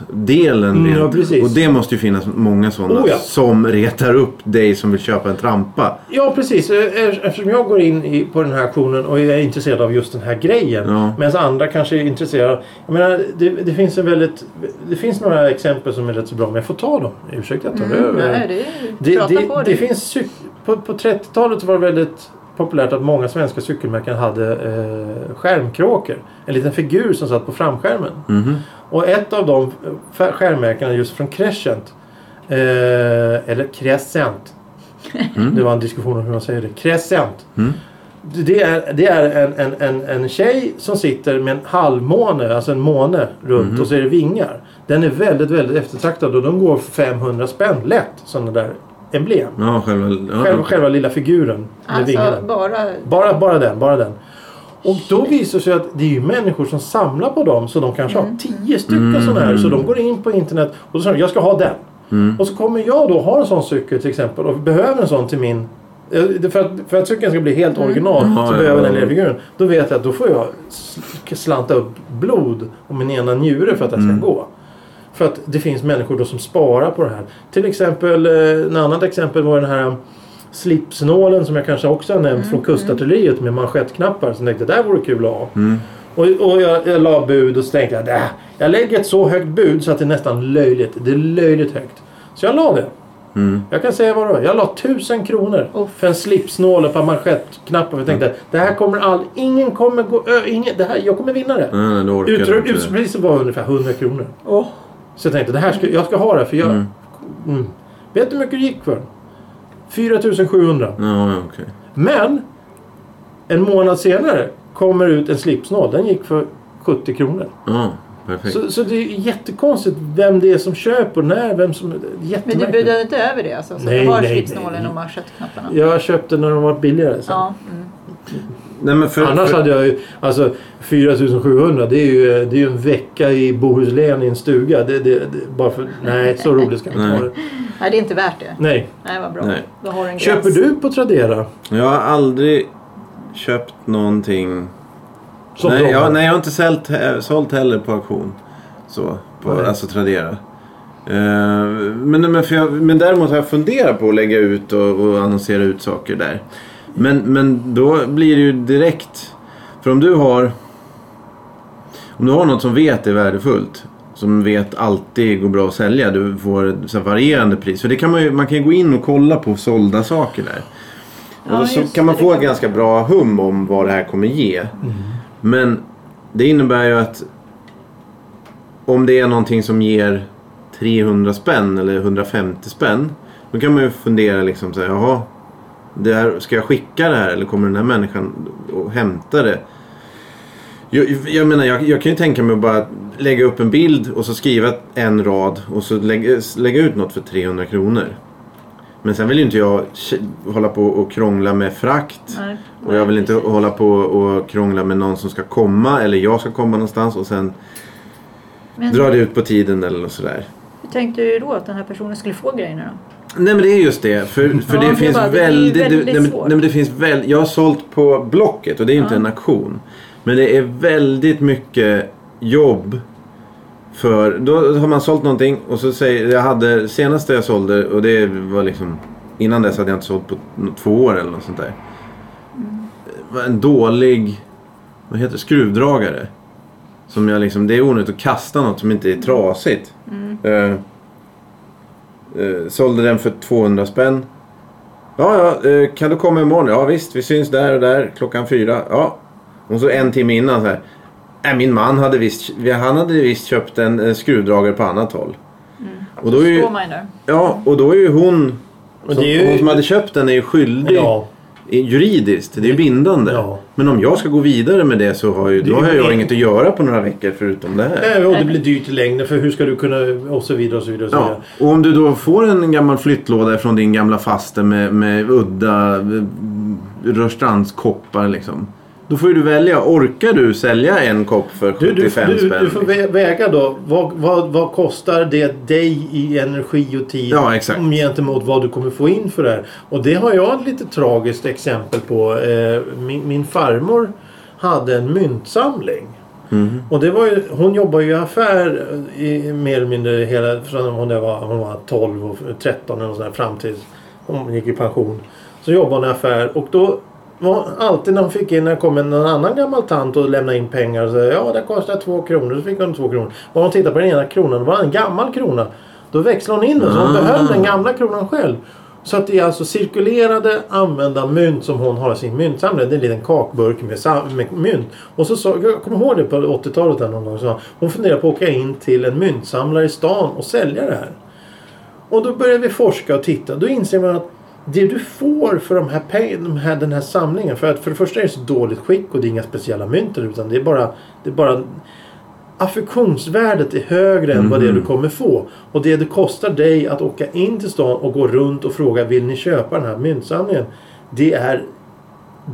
[SPEAKER 3] auktionsdelen.
[SPEAKER 2] Mm,
[SPEAKER 3] rent.
[SPEAKER 2] ja, precis.
[SPEAKER 3] och det måste ju finnas många sådana
[SPEAKER 2] Oh, ja.
[SPEAKER 3] som retar upp dig som vill köpa en trampa.
[SPEAKER 2] Ja, precis. Eh, eh, Eftersom jag går in i, på den här auktionen och är intresserad av just den här grejen.
[SPEAKER 3] Ja.
[SPEAKER 2] Medan andra kanske är intresserade. Jag menar, det, det finns en väldigt... Det finns några exempel som är rätt så bra, men jag får ta dem. Ursäkta, jag tar
[SPEAKER 1] Mm,
[SPEAKER 2] över.
[SPEAKER 1] nej, det är...
[SPEAKER 2] Det,
[SPEAKER 1] Prata
[SPEAKER 2] det,
[SPEAKER 1] på
[SPEAKER 2] det finns cyk- på, på 30-talet var det väldigt populärt att många svenska cykelmärken hade eh, skärmkråkor. En liten figur som satt på framskärmen.
[SPEAKER 3] Mhm.
[SPEAKER 2] Och ett av de eh, fär- skärmmärkena just från Crescent. Eh, eller Crescent. Det var en diskussion om hur man säger det. Crescent.
[SPEAKER 3] Mm.
[SPEAKER 2] Det det är, det är en, en, en, en tjej som sitter med en halvmåne, alltså en måne runt och så är det vingar. Den är väldigt, väldigt eftertraktad och de går för 500 spänn lätt. Sådana där emblem.
[SPEAKER 3] Ja, själva... Ja,
[SPEAKER 2] Själva, själva lilla figuren. Med vingarna.
[SPEAKER 1] Alltså bara...
[SPEAKER 2] Bara, bara den, bara den. Och då visar det sig att det är ju människor som samlar på dem så de kanske har tio stycken sådana här.
[SPEAKER 3] Mm.
[SPEAKER 2] Så de går in på internet och så säger de, jag ska ha den. Och så kommer jag då ha en sån cykel till exempel och behöver en sån till min... eh, För att, för att cykeln ska bli helt original
[SPEAKER 3] Mm.
[SPEAKER 2] så
[SPEAKER 3] Ja,
[SPEAKER 2] behöver
[SPEAKER 3] ja,
[SPEAKER 2] den
[SPEAKER 3] ja.
[SPEAKER 2] lilla figuren. Då vet jag att då får jag sl- slanta upp blod och min ena njure för att den ska
[SPEAKER 3] Mm.
[SPEAKER 2] gå. För att det finns människor då som sparar på det här. Till exempel, eh, ett annat exempel var den här eh,
[SPEAKER 3] Mm.
[SPEAKER 2] slipsnålen som jag kanske också har nämnt från kustartilleriet med manschettknappar. Så jag tänkte det där vore kul att ha. Och, och jag, jag la bud och så tänkte jag "Äh, jag lägger ett så högt bud så att det är nästan löjligt. Det är löjligt högt. Så jag la det.
[SPEAKER 3] Mm.
[SPEAKER 2] Jag kan säga vad det var. Jag la tusen kronor
[SPEAKER 1] Åh.
[SPEAKER 2] för en slipsnål och ett par manschettknappar. För jag tänkte
[SPEAKER 3] Mm.
[SPEAKER 2] det här kommer all... Ingen kommer gå... ö, Ingen, det här, jag kommer vinna det.
[SPEAKER 3] Nej, nej, det Mm. orkar jag
[SPEAKER 2] Utro-
[SPEAKER 3] inte.
[SPEAKER 2] Utropspriset var ungefär 100 kronor.
[SPEAKER 1] Åh.
[SPEAKER 2] Så jag tänkte det här ska, jag ska ha det för jag...
[SPEAKER 3] Mm.
[SPEAKER 2] Mm. Vet du hur mycket det gick för? 4700.
[SPEAKER 3] Ja, ja, okej.
[SPEAKER 2] Men en månad senare kommer ut en slipsnål. Den gick för 70 kronor.
[SPEAKER 3] Ja, perfekt.
[SPEAKER 2] Så, så det är jättekonstigt vem det är som köper och när. Vem som, det är
[SPEAKER 1] Men du
[SPEAKER 2] jättemärkligt.
[SPEAKER 1] budade inte över det alltså? Så
[SPEAKER 2] Nej,
[SPEAKER 1] du har
[SPEAKER 2] nej,
[SPEAKER 1] slipsnålen
[SPEAKER 2] nej.
[SPEAKER 1] och manschettknapparna?
[SPEAKER 2] Jag köpte när de var billigare. Sen.
[SPEAKER 1] Ja. Mm.
[SPEAKER 3] Nej, men för,
[SPEAKER 2] Annars
[SPEAKER 3] för,
[SPEAKER 2] hade jag ju... Alltså 4700 det är ju, det är ju en vecka i Bohuslän i en stuga. Det, det, det, bara för, nej, så roligt ska vi inte
[SPEAKER 3] Nej.
[SPEAKER 2] ha det.
[SPEAKER 1] Nej, det är inte värt det.
[SPEAKER 2] Nej.
[SPEAKER 1] Nej, vad bra.
[SPEAKER 3] Nej.
[SPEAKER 1] Då har du en gräns.
[SPEAKER 2] Köper du på Tradera?
[SPEAKER 3] Jag har aldrig köpt någonting.
[SPEAKER 2] Som
[SPEAKER 3] nej,
[SPEAKER 2] bloggar?
[SPEAKER 3] jag, nej, jag har inte sålt, sålt heller på auktion. Så, på,
[SPEAKER 2] Nej.
[SPEAKER 3] alltså Tradera. Eh, men, men, för jag, men däremot har jag funderat på att lägga ut och, och annonsera ut saker där. Men, men då blir det ju direkt. För om du har om du har något som vet är värdefullt. Som vet alltid går bra att sälja. Du får ett så här varierande pris. För det kan man, ju, man kan ju gå in och kolla på sålda saker där.
[SPEAKER 1] Ja,
[SPEAKER 3] och då så
[SPEAKER 1] just
[SPEAKER 3] kan man
[SPEAKER 1] det,
[SPEAKER 3] få
[SPEAKER 1] det
[SPEAKER 3] ett
[SPEAKER 1] kan- Mm.
[SPEAKER 3] ganska bra hum om vad det här kommer ge. Men det innebär ju att om det är någonting som ger 300 spänn eller 150 spänn. Då kan man ju fundera liksom så här, jaha. Det här, ska jag skicka det här eller kommer den här människan och hämta det? Jag, jag menar, jag, jag kan ju tänka mig att bara lägga upp en bild och så skriva en rad och så lägga, lägga ut något för 300 kronor. Men sen vill ju inte jag ke- hålla på och krångla med frakt.
[SPEAKER 1] Nej.
[SPEAKER 3] Och jag vill inte
[SPEAKER 1] precis.
[SPEAKER 3] hålla på och krångla med någon som ska komma eller jag ska komma någonstans och sen
[SPEAKER 1] Men
[SPEAKER 3] drar det ut på tiden eller något sådär.
[SPEAKER 1] hur tänkte du då att den här personen skulle få grejerna då?
[SPEAKER 3] Nej men det är just det. För, för
[SPEAKER 1] Mm. Ja,
[SPEAKER 3] det,
[SPEAKER 1] det
[SPEAKER 3] finns
[SPEAKER 1] var- det är ju
[SPEAKER 3] väldigt... Det,
[SPEAKER 1] väldigt
[SPEAKER 3] nej, men-
[SPEAKER 1] svårt.
[SPEAKER 3] nej, men det finns väl, jag har sålt på Blocket och det är ju inte
[SPEAKER 1] Ja.
[SPEAKER 3] en auktion. Men det är väldigt mycket jobb. För då har man sålt någonting och så säger jag hade senaste jag sålde och det var liksom innan dess hade jag inte sålt på n- två år eller något sånt där.
[SPEAKER 1] Mm.
[SPEAKER 3] Det var En dålig vad heter det, skruvdragare. Som jag liksom, det är onödigt att kasta något som inte är trasigt. Mm. sålde den för 200 spänn. Ja, ja, eh, kan du komma imorgon? Ja, visst, vi syns där och där klockan fyra. Ja. Och så en timme innan så här. "Nej, min man hade visst, han hade visst köpt en eh, skruvdragare på annat håll. Och, då är ju,
[SPEAKER 1] Mm. Står man ju där.
[SPEAKER 3] ja, och då är ju hon,
[SPEAKER 2] Men
[SPEAKER 3] som,
[SPEAKER 2] det är ju-
[SPEAKER 3] hon som hade köpt den är ju skyldig
[SPEAKER 2] Ja.
[SPEAKER 3] i- juridiskt. Det är ju bindande.
[SPEAKER 2] Ja.
[SPEAKER 3] Men om jag ska gå vidare med det så har, ju,
[SPEAKER 2] Det
[SPEAKER 3] då
[SPEAKER 2] är ju
[SPEAKER 3] har jag
[SPEAKER 2] en-
[SPEAKER 3] inget att göra på några veckor förutom det här.
[SPEAKER 2] Nej, och det blir dyrt i längden för hur ska du kunna... Och så vidare och så vidare. Och så
[SPEAKER 3] Ja,
[SPEAKER 2] vidare.
[SPEAKER 3] och om du då får en gammal flyttlåda från din gamla faste med, med udda eh, Rörstrandskoppar liksom. Då får ju du välja. Orkar du sälja en kopp för
[SPEAKER 2] Du, du,
[SPEAKER 3] 75
[SPEAKER 2] du,
[SPEAKER 3] spänn?
[SPEAKER 2] du får vä- väga då. Vad, vad, vad kostar det dig i energi och tid?
[SPEAKER 3] Ja, exakt.
[SPEAKER 2] Om gentemot vad du kommer få in för det här. Och det har jag ett lite tragiskt exempel på. Eh, Min, min farmor hade en myntsamling. Mm. Och det var ju, hon jobbade ju i affär i, mer eller mindre hela, från hon var, hon var 12 och 13 eller sådär fram tills hon gick i pension. Så jobbade hon i affär och då var alltid när hon fick in, när det kom en någon annan gammal tant och lämnade in pengar och sa ja det kostar två kronor. Så fick hon två kronor. Och hon tittade på den ena kronan, det var en gammal krona. Då växlade hon in den så hon
[SPEAKER 3] Ah.
[SPEAKER 2] behöll den gamla kronan själv. Så att det är alltså cirkulerade använda mynt som hon har i sin myntsamling. Det är en liten kakburk med, sam- med mynt. Och så sa, jag kommer ihåg det på 80-talet där någon gång. Så hon funderade på att åka in till en myntsamlare i stan och sälja det här. Och då började vi forska och titta. Då inser man att det du får för de här peng- de här, den här samlingen. För att för det första är det så dåligt skick och det är inga speciella mynt utan det är bara, det är bara affektionsvärdet är högre än vad det är du kommer få. Och det det kostar dig att åka in till stan och gå runt och fråga vill ni köpa den här myntsamlingen? Det är,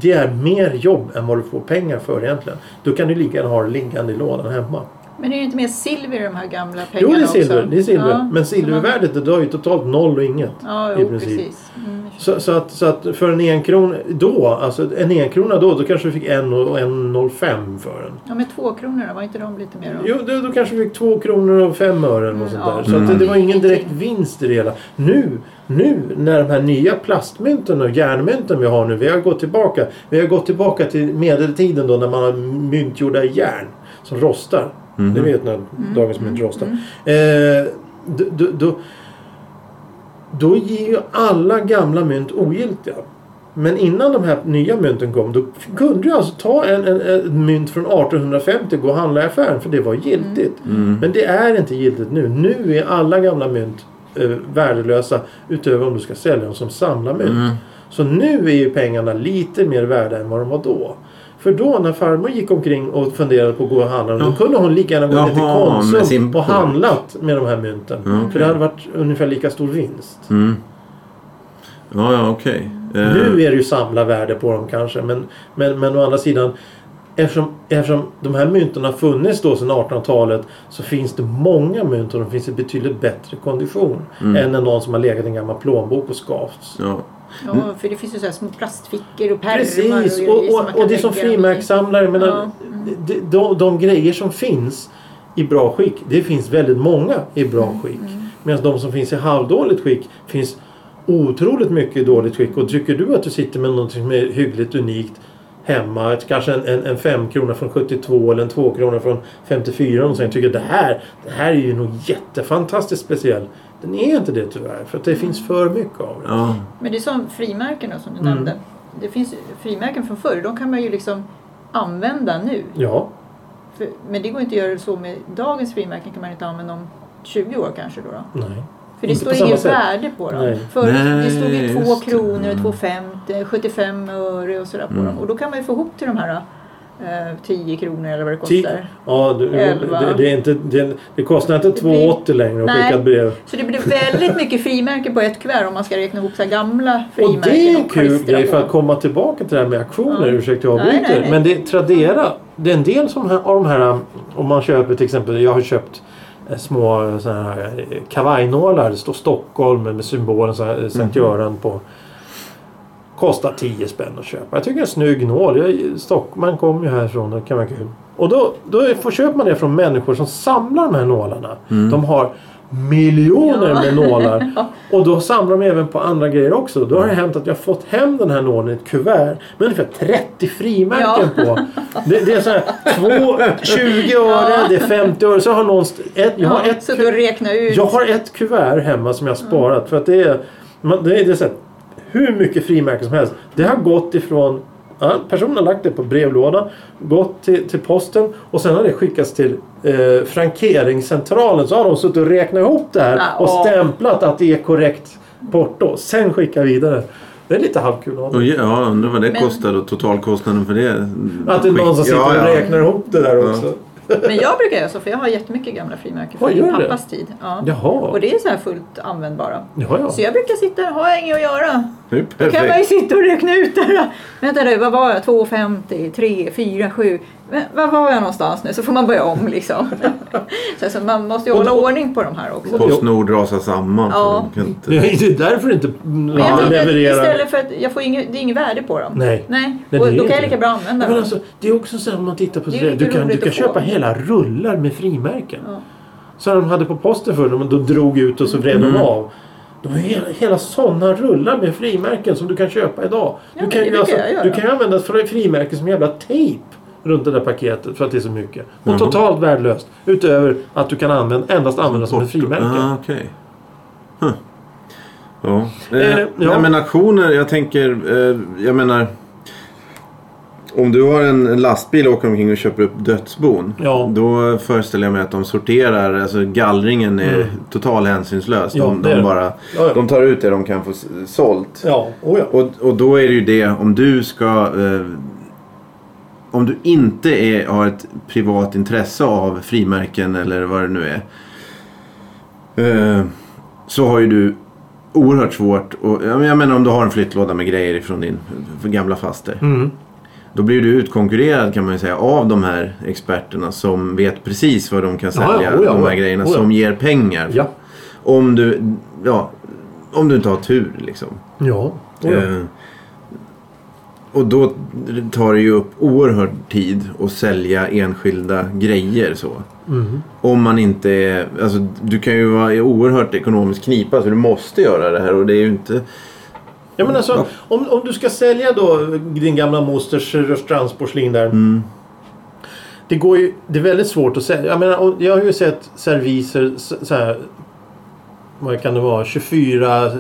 [SPEAKER 2] det är mer jobb än vad du får pengar för egentligen. Då kan du lika gärna ha det liggande i lådan hemma.
[SPEAKER 1] Men är det inte mer silver i de här gamla pengarna
[SPEAKER 2] Jo, det är
[SPEAKER 1] också?
[SPEAKER 2] silver. Det är silver.
[SPEAKER 1] Ja,
[SPEAKER 2] Men
[SPEAKER 1] så man-
[SPEAKER 2] silvervärdet det drar ju totalt noll och inget.
[SPEAKER 1] Ja,
[SPEAKER 2] i
[SPEAKER 1] jo,
[SPEAKER 2] princip.
[SPEAKER 1] precis. Mm.
[SPEAKER 2] Så, så, att, så att för en enkrona då, alltså en enkrona då, då kanske du fick en och en 0,5 för den.
[SPEAKER 1] Ja, men två kronor då, var inte de lite mer då?
[SPEAKER 2] Jo, då, då kanske vi fick två kronor och fem öre eller något
[SPEAKER 1] Mm,
[SPEAKER 2] sånt där.
[SPEAKER 1] ja.
[SPEAKER 2] Så att det, det var ingen direkt
[SPEAKER 1] Mm.
[SPEAKER 2] vinst i det hela. Nu nu när de här nya plastmynten och järnmynten vi har nu. Vi har gått tillbaka, vi har gått tillbaka till medeltiden då när man har mynt gjorda i järn som rostar.
[SPEAKER 3] Mhm.
[SPEAKER 2] Det vet när
[SPEAKER 1] Mm.
[SPEAKER 2] dagens mynt rostar. Eh, då, då, då, då ger ju alla gamla mynt ogiltiga. Men innan de här nya mynten kom då kunde du alltså ta en, en, en mynt från 1850 och gå och handla i affären för det var giltigt.
[SPEAKER 3] Mm.
[SPEAKER 2] Men det är inte giltigt nu. Nu är alla gamla mynt eh, värdelösa utöver om du ska sälja dem som samlarmynt.
[SPEAKER 3] Mm.
[SPEAKER 2] Så nu är ju pengarna lite mer värda än vad de var då. För då när farmor gick omkring och funderade på att gå och handla då
[SPEAKER 3] Ja.
[SPEAKER 2] kunde hon lika gärna gå ner till
[SPEAKER 3] Jaha, med
[SPEAKER 2] Konsum
[SPEAKER 3] sin
[SPEAKER 2] och
[SPEAKER 3] påk.
[SPEAKER 2] handlat med de här mynten.
[SPEAKER 3] Ja, okej.
[SPEAKER 2] För det hade varit ungefär lika stor vinst.
[SPEAKER 3] Mm. Ja, ja, okej. Eh,
[SPEAKER 2] Nu är det ju samlarvärde på dem kanske men, men, men å andra sidan eftersom, eftersom de här mynten har funnits då sedan 1800-talet så finns det många mynt och de finns i betydligt bättre kondition än en någon som har legat i en gammal plånbok och skavts.
[SPEAKER 3] Ja.
[SPEAKER 1] Ja, för det finns ju så här små plastfickor och pärmar
[SPEAKER 2] Precis,
[SPEAKER 1] grejer
[SPEAKER 2] och,
[SPEAKER 1] som man
[SPEAKER 2] och,
[SPEAKER 1] kan
[SPEAKER 2] och det är som
[SPEAKER 1] lägga dem i.
[SPEAKER 2] frimärkssamlare. Men
[SPEAKER 1] Ja,
[SPEAKER 2] de, de, de grejer som finns i bra skick, det finns väldigt många i
[SPEAKER 1] Mm,
[SPEAKER 2] bra skick. Medan de som finns i halvdåligt skick finns otroligt mycket i dåligt skick. Och tycker du att du sitter med något som är hyggligt unikt hemma, ett- kanske en, en, en femkrona från 72 eller en tvåkrona från 54 och sen tycker det här, det här är ju nog jättefantastiskt speciell. Den är inte det tyvärr, för att
[SPEAKER 1] Mm.
[SPEAKER 2] det finns för mycket av det.
[SPEAKER 3] ja.
[SPEAKER 1] Men det är som frimärken då, som du
[SPEAKER 2] Mm.
[SPEAKER 1] nämnde. Det finns ju frimärken från förr. De kan man ju liksom använda nu.
[SPEAKER 2] Ja,
[SPEAKER 1] För, men det går inte att göra så med dagens frimärken. kan man inte använda om 20 år kanske då. då.
[SPEAKER 2] nej.
[SPEAKER 1] För det
[SPEAKER 2] Inte på
[SPEAKER 1] står
[SPEAKER 2] samma
[SPEAKER 1] inget
[SPEAKER 2] sätt.
[SPEAKER 1] värde på dem.
[SPEAKER 2] Nej.
[SPEAKER 1] Förut det
[SPEAKER 3] Nej,
[SPEAKER 1] stod ju 2
[SPEAKER 3] just det.
[SPEAKER 1] kronor och
[SPEAKER 3] Mm.
[SPEAKER 1] 2,50, 75 öre och sådär på
[SPEAKER 3] Mm.
[SPEAKER 1] dem. Och då kan man ju få ihop till de här eh, 10 kronor eller vad det
[SPEAKER 2] Ti-
[SPEAKER 1] kostar.
[SPEAKER 2] Ja, du,
[SPEAKER 1] Elva.
[SPEAKER 2] det, det, är inte, det, det kostar inte
[SPEAKER 1] Det blir-
[SPEAKER 2] 2,80 längre att
[SPEAKER 1] Nej.
[SPEAKER 2] skicka ett brev.
[SPEAKER 1] Så det blir väldigt mycket frimärken på ett kuvert om man ska räkna ihop så här gamla
[SPEAKER 2] Och
[SPEAKER 1] frimärken.
[SPEAKER 2] det är en kul
[SPEAKER 1] klistra
[SPEAKER 2] grej
[SPEAKER 1] på.
[SPEAKER 2] för att komma tillbaka till det här med auktioner.
[SPEAKER 1] Ja.
[SPEAKER 2] Ursäkta jag
[SPEAKER 1] Nej, nej,
[SPEAKER 2] avbryter.
[SPEAKER 1] nej.
[SPEAKER 2] Men det Tradera. Det är en del som här, av de här om man köper till exempel. Jag har köpt eh, små eh, såna här eh, kavajnålar. Det står Stockholm med symbolen så här, eh, Sankt Göran på. Kostar 10 spänn att köpa. Jag tycker det är en snygg nål. Jag, Stock, man kommer ju härifrån. Det kan vara kul. Och då, då är- får, köper man det från människor som samlar de här nålarna. De har miljoner
[SPEAKER 1] Ja.
[SPEAKER 2] med
[SPEAKER 1] [LAUGHS]
[SPEAKER 2] nålar. Och då samlar de även på andra grejer också. Då har det hänt att jag har fått hem den här nålen i ett kuvert med ungefär 30 frimärken på. Det, det är så här två 20 öre, det är 50 öre. Så har någon st- ett, jag, har
[SPEAKER 1] ja,
[SPEAKER 2] ett,
[SPEAKER 1] så
[SPEAKER 2] ku-
[SPEAKER 1] då räkna ut.
[SPEAKER 2] jag har ett kuvert hemma som jag har sparat. För att det är, man, det är, det är så här, hur mycket frimärken som helst. Det har gått ifrån Ja, personen har lagt det på brevlådan, gått till, till posten och sen har det skickats till eh, frankeringscentralen. Så har de suttit och räknat ihop det här
[SPEAKER 1] Ah,
[SPEAKER 2] och
[SPEAKER 1] ja.
[SPEAKER 2] stämplat att det är korrekt porto. Sen skicka vidare. Det är lite halvkul att ha.
[SPEAKER 3] Och ja, jag undrar vad det
[SPEAKER 1] Men-
[SPEAKER 3] kostar och totalkostnaden för det.
[SPEAKER 2] Att det är någon som sitter
[SPEAKER 3] ja,
[SPEAKER 2] och
[SPEAKER 3] ja.
[SPEAKER 2] räknar ihop det där också.
[SPEAKER 1] Men jag brukar göra så för jag har jättemycket gamla frimärken
[SPEAKER 2] Oj,
[SPEAKER 1] från
[SPEAKER 2] gör
[SPEAKER 1] min
[SPEAKER 2] du det?
[SPEAKER 1] pappas tid. Ja. Och
[SPEAKER 2] Jaha.
[SPEAKER 1] det är så här fullt användbara.
[SPEAKER 2] Ja, ja.
[SPEAKER 1] Så jag brukar sitta här, har jag inget att göra.
[SPEAKER 3] Det är ju
[SPEAKER 1] Då kan man ju
[SPEAKER 3] perfekt.
[SPEAKER 1] sitta och räkna ut det här. Vänta nu, vad var jag? 2,50, 3, 4, 7. Men, var var jag någonstans nu? Så får man börja om liksom. [LAUGHS] så alltså, man måste ju
[SPEAKER 2] Och
[SPEAKER 1] hålla
[SPEAKER 2] då-
[SPEAKER 1] ordning på de här också.
[SPEAKER 3] Postnord rasar samman. så
[SPEAKER 1] Ja.
[SPEAKER 3] de kan inte-
[SPEAKER 2] [LAUGHS] Det är därför inte
[SPEAKER 1] Men jag
[SPEAKER 2] mm,
[SPEAKER 1] tycker att
[SPEAKER 2] levererar.
[SPEAKER 1] istället för att jag får inget, det är inget värde på dem.
[SPEAKER 2] Nej.
[SPEAKER 1] Nej.
[SPEAKER 2] Nej, det
[SPEAKER 1] och
[SPEAKER 2] är
[SPEAKER 1] då kan
[SPEAKER 2] inte
[SPEAKER 1] jag lika
[SPEAKER 2] det.
[SPEAKER 1] bra använda
[SPEAKER 2] Men
[SPEAKER 1] dem.
[SPEAKER 2] alltså, det är också så här om man tittar på
[SPEAKER 1] Det
[SPEAKER 2] det,
[SPEAKER 1] är
[SPEAKER 2] där.
[SPEAKER 1] lite
[SPEAKER 2] Du kan, du
[SPEAKER 1] roligt
[SPEAKER 2] kan
[SPEAKER 1] att få.
[SPEAKER 2] köpa hela rullar med frimärken.
[SPEAKER 1] Ja.
[SPEAKER 2] Så de hade på posten förr, men de drog ut och så vred de
[SPEAKER 3] Mm.
[SPEAKER 2] av. De har hela, hela sådana rullar med frimärken som du kan köpa idag.
[SPEAKER 1] men
[SPEAKER 2] du, kan
[SPEAKER 1] det
[SPEAKER 2] ju alltså-
[SPEAKER 1] brukar jag göra.
[SPEAKER 2] du kan ju använda fri- frimärken som jävla tejp runt det där paketet för att det är så mycket. Och
[SPEAKER 3] Mhm.
[SPEAKER 2] totalt värdelöst. Utöver att du kan använda, endast använda som ett frimärke.
[SPEAKER 3] Ah, okej. Huh. Ja.
[SPEAKER 2] Eh,
[SPEAKER 3] Eh,
[SPEAKER 2] ja.
[SPEAKER 3] Nej, men auktioner, jag tänker, eh, jag menar. Om du har en en lastbil och åker omkring och köper upp dödsbon.
[SPEAKER 2] Ja.
[SPEAKER 3] Då föreställer jag mig att de sorterar, alltså gallringen är
[SPEAKER 2] Mm.
[SPEAKER 3] total hänsynslös.
[SPEAKER 2] Ja,
[SPEAKER 3] de,
[SPEAKER 2] det är
[SPEAKER 3] de,
[SPEAKER 2] det.
[SPEAKER 3] bara,
[SPEAKER 2] ja.
[SPEAKER 3] de tar ut det de kan få s- sålt.
[SPEAKER 2] Ja, oh ja.
[SPEAKER 3] Och, och då är det ju det om du ska... Eh, om du inte är, har ett privat intresse av frimärken eller vad det nu är. Eh, så har ju du oerhört svårt och, ja, men Jag menar om du har en flyttlåda med grejer från din gamla faster.
[SPEAKER 2] Mm.
[SPEAKER 3] Då blir du utkonkurrerad kan man ju säga av de här experterna som vet precis vad de kan
[SPEAKER 2] Ja, ja,
[SPEAKER 3] sälja.
[SPEAKER 2] oh ja,
[SPEAKER 3] de
[SPEAKER 2] oh
[SPEAKER 3] här
[SPEAKER 2] ja,
[SPEAKER 3] grejerna
[SPEAKER 2] oh ja.
[SPEAKER 3] som ger pengar.
[SPEAKER 2] Ja.
[SPEAKER 3] Om, du, ja, om du inte har tur liksom.
[SPEAKER 2] Ja. Oh ja.
[SPEAKER 3] Eh, Och då tar det ju upp oerhörd tid att sälja enskilda grejer så.
[SPEAKER 2] Mm.
[SPEAKER 3] Om man inte är... Alltså, du kan ju vara i oerhört ekonomiskt knipa så du måste göra det här och det är ju inte...
[SPEAKER 2] Ja, men alltså, om, om du ska sälja då din gamla mosters rörstrandsporslin där. Det, går ju, det är väldigt svårt att sälja. Jag, menar, och jag har ju sett serviser så, så här, vad kan det vara, 24 eh,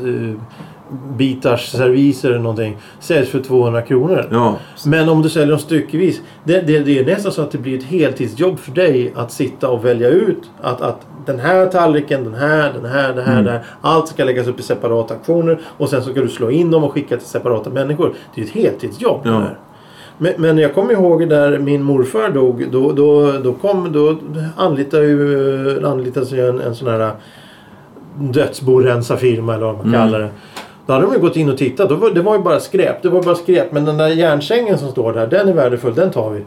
[SPEAKER 2] bitars serviser eller någonting. Säljs för 200 kronor.
[SPEAKER 3] Ja,
[SPEAKER 2] Men om du säljer dem styckevis. Det, det, det är nästan så att det blir ett heltidsjobb för dig att sitta och välja ut att, att den här tallriken, den här, den här, den här, den här. Allt ska läggas upp i separata aktioner och sen så ska du slå in dem och skicka till separata människor. Det är ett heltidsjobb. det
[SPEAKER 3] Ja.
[SPEAKER 2] här. Men, men jag kommer ihåg där min morfar dog. Då, då, då, kom, då anlitade, ju, anlitades ju en, en sån här dödsborensarfirma eller vad man kallar det. Då hade de ju gått in och tittat. Då var, det var ju bara skräp. Det var bara skräp. Men den där järnsängen som står där, den är värdefull. Den tar vi.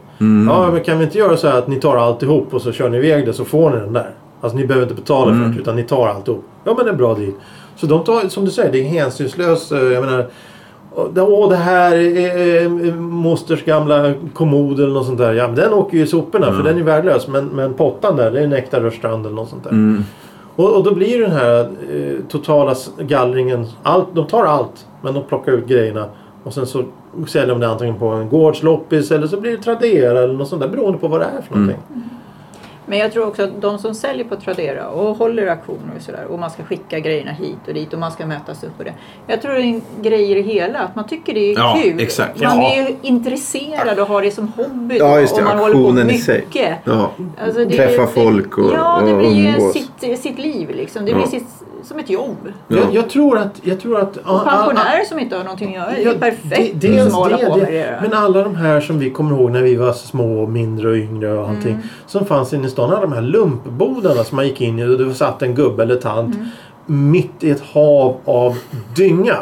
[SPEAKER 2] Ja, men kan vi inte göra så här att ni tar alltihop och så kör ni iväg det så får ni den där. Alltså ni behöver inte betala för det utan ni tar alltihop. Ja, men det är en bra deal. Så de tar, som du säger, det är hänsynslöst. eh, Jag menar, och det- Åh, det här är eh, mosters gamla kommod eller något sånt där. Ja, men den åker ju i soporna för den är värdelös. Men, men pottan där, det är en äkta rörstrand eller något sånt där. Och, och då blir den här eh, totala s- gallringen. Allt, de tar allt, men de plockar ut grejerna. Och sen så säljer de det antingen på en gårdsloppis eller så blir det Tradera eller något sånt där. Beroende på vad det är för någonting.
[SPEAKER 1] Men jag tror också att de som säljer på Tradera och håller auktioner och sådär och man ska skicka grejerna hit och dit och man ska mötas upp och det. Jag tror det är en grej i det hela, att man tycker det är
[SPEAKER 3] Ja,
[SPEAKER 1] kul.
[SPEAKER 3] exakt.
[SPEAKER 1] Man
[SPEAKER 2] Ja.
[SPEAKER 1] är ju intresserad och har det som hobby
[SPEAKER 3] ja
[SPEAKER 1] då,
[SPEAKER 3] just det.
[SPEAKER 1] och man håller på
[SPEAKER 3] Aktionen i
[SPEAKER 1] mycket.
[SPEAKER 3] sig. Ja.
[SPEAKER 1] Alltså, det är
[SPEAKER 3] Träffa
[SPEAKER 1] ju-
[SPEAKER 3] folk och-
[SPEAKER 1] Ja, det
[SPEAKER 3] och
[SPEAKER 1] blir ju
[SPEAKER 3] umgås.
[SPEAKER 1] sitt, sitt liv liksom. Det
[SPEAKER 3] Ja.
[SPEAKER 1] blir sitt, som ett jobb.
[SPEAKER 2] Jag,
[SPEAKER 3] Ja.
[SPEAKER 2] jag tror att... Jag tror att
[SPEAKER 1] Och pensionärer som inte har någonting att göra, det är ju perfekt
[SPEAKER 2] det- dels
[SPEAKER 1] som håller
[SPEAKER 2] det,
[SPEAKER 1] på med
[SPEAKER 2] det.
[SPEAKER 1] det.
[SPEAKER 2] Men alla de här som vi kommer ihåg när vi var små och mindre och yngre och allting.
[SPEAKER 1] Mm.
[SPEAKER 2] Som fanns inne i stan. Alla de här lumpbodarna som man gick in i och det satt en gubbe eller tant.
[SPEAKER 1] Mm.
[SPEAKER 2] Mitt i ett hav av dynga.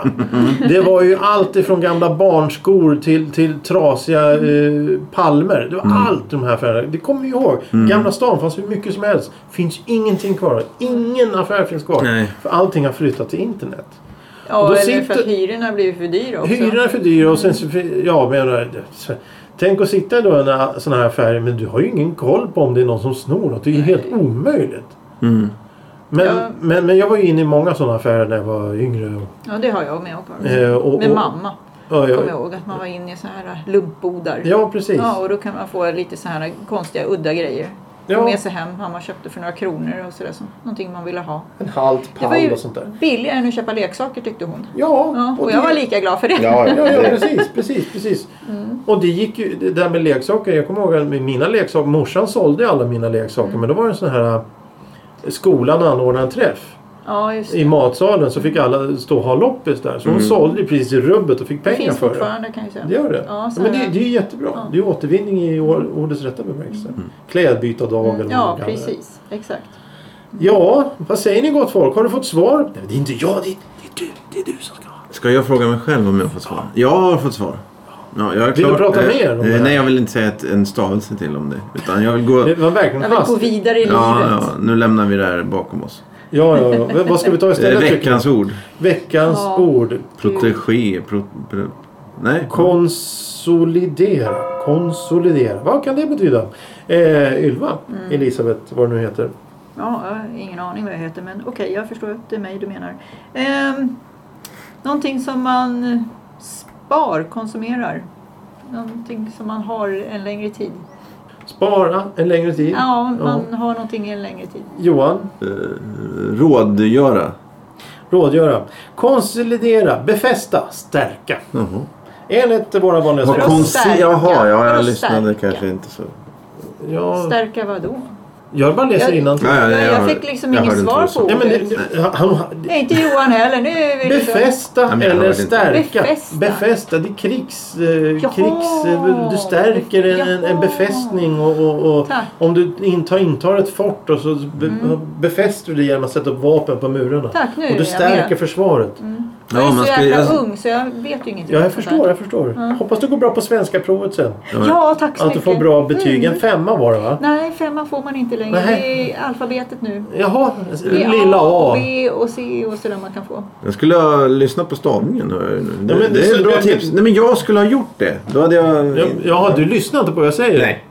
[SPEAKER 2] Det var ju allt ifrån gamla barnskor till, till trasiga
[SPEAKER 1] Mm.
[SPEAKER 2] eh, palmer. Det var allt de här affärerna. Det kommer vi ihåg. Gamla stan fanns hur mycket som helst. Finns ingenting kvar. Ingen affär finns kvar.
[SPEAKER 3] Nej.
[SPEAKER 2] För allting har flyttat till internet. och
[SPEAKER 1] Ja,
[SPEAKER 2] då
[SPEAKER 1] eller för
[SPEAKER 2] sitter-
[SPEAKER 1] att hyrorna blir för dyra också.
[SPEAKER 2] Hyrorna är för dyra och sen så... Ja, men jag menar, så- Tänk att sitta då i en sån här affär men du har ju ingen koll på om det är någon som snor något. Det är ju helt omöjligt.
[SPEAKER 3] Mm.
[SPEAKER 2] Men,
[SPEAKER 1] Ja.
[SPEAKER 2] men, men jag var ju inne i många sådana affärer när jag var yngre. Och,
[SPEAKER 1] Ja, det har jag med också.
[SPEAKER 2] eh, och,
[SPEAKER 1] Med
[SPEAKER 2] och-
[SPEAKER 1] mamma.
[SPEAKER 2] Ja,
[SPEAKER 1] kommer
[SPEAKER 2] ja,
[SPEAKER 1] jag ihåg att man var inne i så här äh, lumpbodar.
[SPEAKER 2] ja, precis.
[SPEAKER 1] Ja, och då kan man få lite så här äh, konstiga, udda grejer.
[SPEAKER 2] Ja.
[SPEAKER 1] Få med sig hem. Mamma köpte för några kronor och sådär. som- Någonting man ville ha.
[SPEAKER 2] En halt
[SPEAKER 1] Det var
[SPEAKER 2] pall
[SPEAKER 1] ju
[SPEAKER 2] och sånt där.
[SPEAKER 1] billigare än att köpa leksaker tyckte hon.
[SPEAKER 2] Ja,
[SPEAKER 1] Ja, och
[SPEAKER 2] det-
[SPEAKER 1] jag var lika Mm. glad för det.
[SPEAKER 2] Ja,
[SPEAKER 3] Ja,
[SPEAKER 2] ja,
[SPEAKER 3] det-
[SPEAKER 2] precis, precis, precis. Och det gick ju, det där med leksaker. Jag kommer ihåg att med mina leksaker, morsan sålde ju alla mina leksaker.
[SPEAKER 1] Mm.
[SPEAKER 2] Men då var det en sån här, eh, skolan anordnade en träff.
[SPEAKER 1] [LAUGHS] Ja, just
[SPEAKER 2] i
[SPEAKER 1] det.
[SPEAKER 2] matsalen så fick alla stå och ha loppis där. Så hon sålde ju precis i rubbet och fick
[SPEAKER 1] Det
[SPEAKER 2] pengar
[SPEAKER 1] finns
[SPEAKER 2] för det.
[SPEAKER 1] fortfarande kan jag säga.
[SPEAKER 2] Det gör det.
[SPEAKER 1] Ja, så
[SPEAKER 2] men
[SPEAKER 1] här-
[SPEAKER 2] det, det är ju jättebra.
[SPEAKER 1] Ja. Mm.
[SPEAKER 2] Det är återvinning i or- ordets rätta bemärkelse. Klädbytardagen. eller vad man
[SPEAKER 1] Ja,
[SPEAKER 2] kallar det.
[SPEAKER 1] precis. Exakt.
[SPEAKER 2] Ja, vad säger ni gott folk? Har du fått svar? Nej, det är inte jag. Det är, det är du. Det är du som ska ha.
[SPEAKER 3] Ska jag fråga mig själv om jag har fått svar? Jag har fått svar. Ja, jag är
[SPEAKER 2] Vill du
[SPEAKER 3] klar.
[SPEAKER 2] prata
[SPEAKER 3] Eh,
[SPEAKER 2] mer om
[SPEAKER 3] eh,
[SPEAKER 2] det här?
[SPEAKER 3] Nej, jag vill inte säga ett, en stavelse till om det. Utan jag vill gå...
[SPEAKER 2] Det var verkligen
[SPEAKER 1] Jag vill gå
[SPEAKER 2] fast. Ja,
[SPEAKER 1] vidare i
[SPEAKER 3] Ja,
[SPEAKER 1] livet.
[SPEAKER 3] ja, nu lämnar vi det här bakom oss.
[SPEAKER 2] ja, ja. V- Vad ska vi ta
[SPEAKER 3] Eh,
[SPEAKER 2] istället? tycker ni?
[SPEAKER 3] veckans ord.
[SPEAKER 2] Veckans
[SPEAKER 1] Ja.
[SPEAKER 2] ord.
[SPEAKER 3] Protege. Pro, pro, nej.
[SPEAKER 2] Konsolidera. Konsolidera. Vad kan det betyda? Eh, Ylva,
[SPEAKER 1] Mm.
[SPEAKER 2] Elisabeth, vad du nu heter.
[SPEAKER 1] Ja, jag har ingen aning vad jag heter men okej, jag förstår att det är mig du menar. Ehm, någonting som man spar, konsumerar. Någonting som man har en längre tid.
[SPEAKER 2] Spara en längre tid.
[SPEAKER 1] Ja,
[SPEAKER 2] Ja.
[SPEAKER 1] man har någonting en längre tid.
[SPEAKER 2] Johan,
[SPEAKER 3] Eh, rådgöra.
[SPEAKER 2] rådgöra. Konsolidera, befästa, stärka.
[SPEAKER 3] Jaha.
[SPEAKER 2] Enligt våra vanliga
[SPEAKER 3] Har
[SPEAKER 1] att
[SPEAKER 2] språk.
[SPEAKER 1] kons-
[SPEAKER 3] konsi-
[SPEAKER 1] stärka.
[SPEAKER 3] Jaha, ja,
[SPEAKER 1] För
[SPEAKER 3] jag
[SPEAKER 1] att
[SPEAKER 3] lyssnade
[SPEAKER 1] stärka.
[SPEAKER 3] kanske inte så.
[SPEAKER 2] Ja,
[SPEAKER 1] Stärka vad då?
[SPEAKER 2] jag bara läser
[SPEAKER 1] Jag-
[SPEAKER 2] innan.
[SPEAKER 3] Ja, ja,
[SPEAKER 1] Jag- jag
[SPEAKER 3] hör-
[SPEAKER 1] fick liksom
[SPEAKER 3] jag
[SPEAKER 1] inget
[SPEAKER 3] hörde inte
[SPEAKER 1] svar
[SPEAKER 3] vad du sa.
[SPEAKER 1] på
[SPEAKER 2] Nej, men det,
[SPEAKER 3] Nej.
[SPEAKER 2] han, han,
[SPEAKER 1] Nej, inte Johan heller. Nu är vi liksom-
[SPEAKER 2] befästa
[SPEAKER 3] men jag
[SPEAKER 2] eller
[SPEAKER 3] hörde inte.
[SPEAKER 2] stärka.
[SPEAKER 1] Befästa.
[SPEAKER 2] Befästa, det är krigs... Eh,
[SPEAKER 1] Jaha.
[SPEAKER 2] krigs eh, du stärker en, en, en
[SPEAKER 1] Jaha.
[SPEAKER 2] befästning och, och, och
[SPEAKER 1] Tack. Mm.
[SPEAKER 2] om du intar, intar ett fort och så be, befäster du det genom att sätta upp vapen på murarna.
[SPEAKER 1] Tack, nu
[SPEAKER 2] och
[SPEAKER 1] är
[SPEAKER 2] du
[SPEAKER 1] jag
[SPEAKER 2] stärker
[SPEAKER 1] med. Mm,
[SPEAKER 2] försvaret.
[SPEAKER 1] Jag är
[SPEAKER 3] man
[SPEAKER 1] så
[SPEAKER 3] ska-
[SPEAKER 1] jäkla
[SPEAKER 3] jag-
[SPEAKER 1] ung så jag vet ju ingenting.
[SPEAKER 2] Ja,
[SPEAKER 1] om
[SPEAKER 2] jag
[SPEAKER 1] sånt
[SPEAKER 2] förstår.
[SPEAKER 1] här.
[SPEAKER 2] Jag förstår.
[SPEAKER 1] Ja.
[SPEAKER 2] Hoppas du går bra på svenska provet sen.
[SPEAKER 1] Ja, tack så
[SPEAKER 2] Att du
[SPEAKER 1] mycket. Mm.
[SPEAKER 2] får bra betyg. En femma var det va?
[SPEAKER 1] Nej, femman får man inte längre.
[SPEAKER 2] Nej.
[SPEAKER 1] Det är alfabetet nu.
[SPEAKER 2] Jaha,
[SPEAKER 1] Det är
[SPEAKER 2] lilla
[SPEAKER 1] A, och
[SPEAKER 2] A.
[SPEAKER 1] B och C och sådär man kan få.
[SPEAKER 3] Jag skulle ha lyssnat på stavningen. hör jag nu. Det,
[SPEAKER 2] Ja, men
[SPEAKER 3] det
[SPEAKER 2] så-
[SPEAKER 3] är ett bra
[SPEAKER 2] men-
[SPEAKER 3] tips. Nej, men jag skulle ha gjort det. Då hade jag...
[SPEAKER 2] Ja, Jaha, du lyssnar inte på vad jag säger?
[SPEAKER 3] Nej.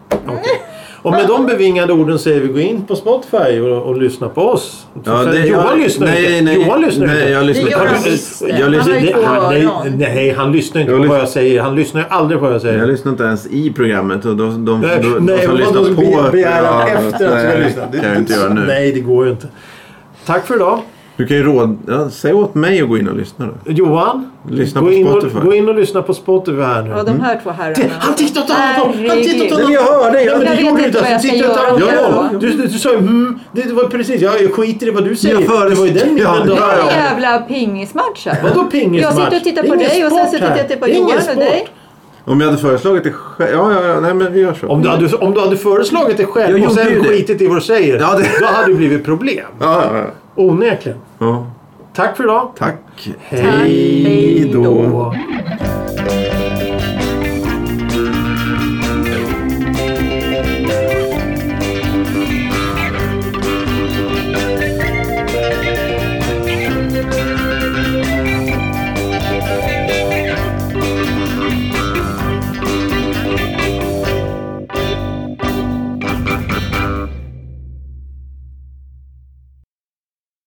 [SPEAKER 2] Och med de bevingade orden säger vi gå in på Spotify och, och lyssna på oss.
[SPEAKER 3] Ja,
[SPEAKER 2] För
[SPEAKER 3] det-
[SPEAKER 2] Johan
[SPEAKER 3] jag-
[SPEAKER 2] lyssnar
[SPEAKER 3] nej,
[SPEAKER 2] inte.
[SPEAKER 3] nej.
[SPEAKER 2] Johan lyssnar
[SPEAKER 3] Nej,
[SPEAKER 2] inte.
[SPEAKER 3] jag lyssnar
[SPEAKER 1] Det gör
[SPEAKER 2] Har
[SPEAKER 3] inte.
[SPEAKER 2] du-
[SPEAKER 1] han visst.
[SPEAKER 2] jag
[SPEAKER 1] Han
[SPEAKER 2] lyssnar-
[SPEAKER 1] har ju
[SPEAKER 2] det-
[SPEAKER 1] två
[SPEAKER 2] han- nej,
[SPEAKER 1] öron.
[SPEAKER 2] Nej, han lyssnar inte
[SPEAKER 3] Jag
[SPEAKER 2] på
[SPEAKER 3] lyssnar-
[SPEAKER 2] vad jag säger. Han lyssnar ju aldrig på vad jag säger.
[SPEAKER 3] Jag lyssnar inte ens i programmet och de, de,
[SPEAKER 2] Nej,
[SPEAKER 3] de, de,
[SPEAKER 2] nej,
[SPEAKER 3] som
[SPEAKER 2] vadå,
[SPEAKER 3] lyssnar
[SPEAKER 2] du
[SPEAKER 3] på...
[SPEAKER 2] be- begär att efter att du ska
[SPEAKER 3] nej,
[SPEAKER 2] lyssna.
[SPEAKER 3] Det kan jag inte göra nu.
[SPEAKER 2] Nej, det går ju inte. Tack för idag.
[SPEAKER 3] Du kan ju råd... Ja, säg åt mig att gå in och lyssna då.
[SPEAKER 2] Johan,
[SPEAKER 3] Lyssna
[SPEAKER 2] gå,
[SPEAKER 3] på
[SPEAKER 2] in och,
[SPEAKER 3] Spotify.
[SPEAKER 2] gå in och lyssna på Spotify här nu.
[SPEAKER 1] Ja, de här två herrarna.
[SPEAKER 2] Mm. Det- Han tittade åt annat håll! Han
[SPEAKER 1] Herregud.
[SPEAKER 2] tittade åt
[SPEAKER 3] Nej, men jag
[SPEAKER 2] annat håll!
[SPEAKER 3] hörde, jag-
[SPEAKER 2] Nej, men du
[SPEAKER 3] Jag
[SPEAKER 1] vet
[SPEAKER 2] gjorde
[SPEAKER 1] inte
[SPEAKER 2] inte Alltså,
[SPEAKER 1] vad
[SPEAKER 2] det.
[SPEAKER 1] jag
[SPEAKER 2] Du
[SPEAKER 1] ska
[SPEAKER 2] tittade åt
[SPEAKER 1] göra.
[SPEAKER 2] annat
[SPEAKER 3] Ja,
[SPEAKER 2] håll!
[SPEAKER 3] ja.
[SPEAKER 2] Du, du, du sa ju mm. Det det var precis. Ja, jag skiter i vad du säger.
[SPEAKER 3] Jag före-
[SPEAKER 2] Det var ju den bilden
[SPEAKER 3] Ja,
[SPEAKER 2] du
[SPEAKER 1] Det är
[SPEAKER 2] hade.
[SPEAKER 1] en jävla pingismatch här.
[SPEAKER 2] Vadå pingismatch?
[SPEAKER 1] Jag sitter och tittar
[SPEAKER 2] Det är
[SPEAKER 1] på
[SPEAKER 2] ingen
[SPEAKER 1] dig och sen
[SPEAKER 2] sport
[SPEAKER 1] sitter jag och
[SPEAKER 2] här.
[SPEAKER 1] tittar på
[SPEAKER 2] Det är ingen
[SPEAKER 1] Johan och
[SPEAKER 2] sport.
[SPEAKER 1] dig.
[SPEAKER 3] Om jag hade föreslagit det själv... Ja, ja, ja. Nej, men vi gör så.
[SPEAKER 2] Om du, hade, om du hade föreslagit det själv
[SPEAKER 3] Jag
[SPEAKER 2] och
[SPEAKER 3] gjorde ju
[SPEAKER 2] sen
[SPEAKER 3] det.
[SPEAKER 2] skitit i vad du säger.
[SPEAKER 3] Ja, det-
[SPEAKER 2] Då hade det blivit problem.
[SPEAKER 3] Ja, ja, ja.
[SPEAKER 2] Onekligen.
[SPEAKER 3] ja.
[SPEAKER 2] Tack för idag.
[SPEAKER 3] Tack.
[SPEAKER 2] Hej
[SPEAKER 1] då.
[SPEAKER 2] då.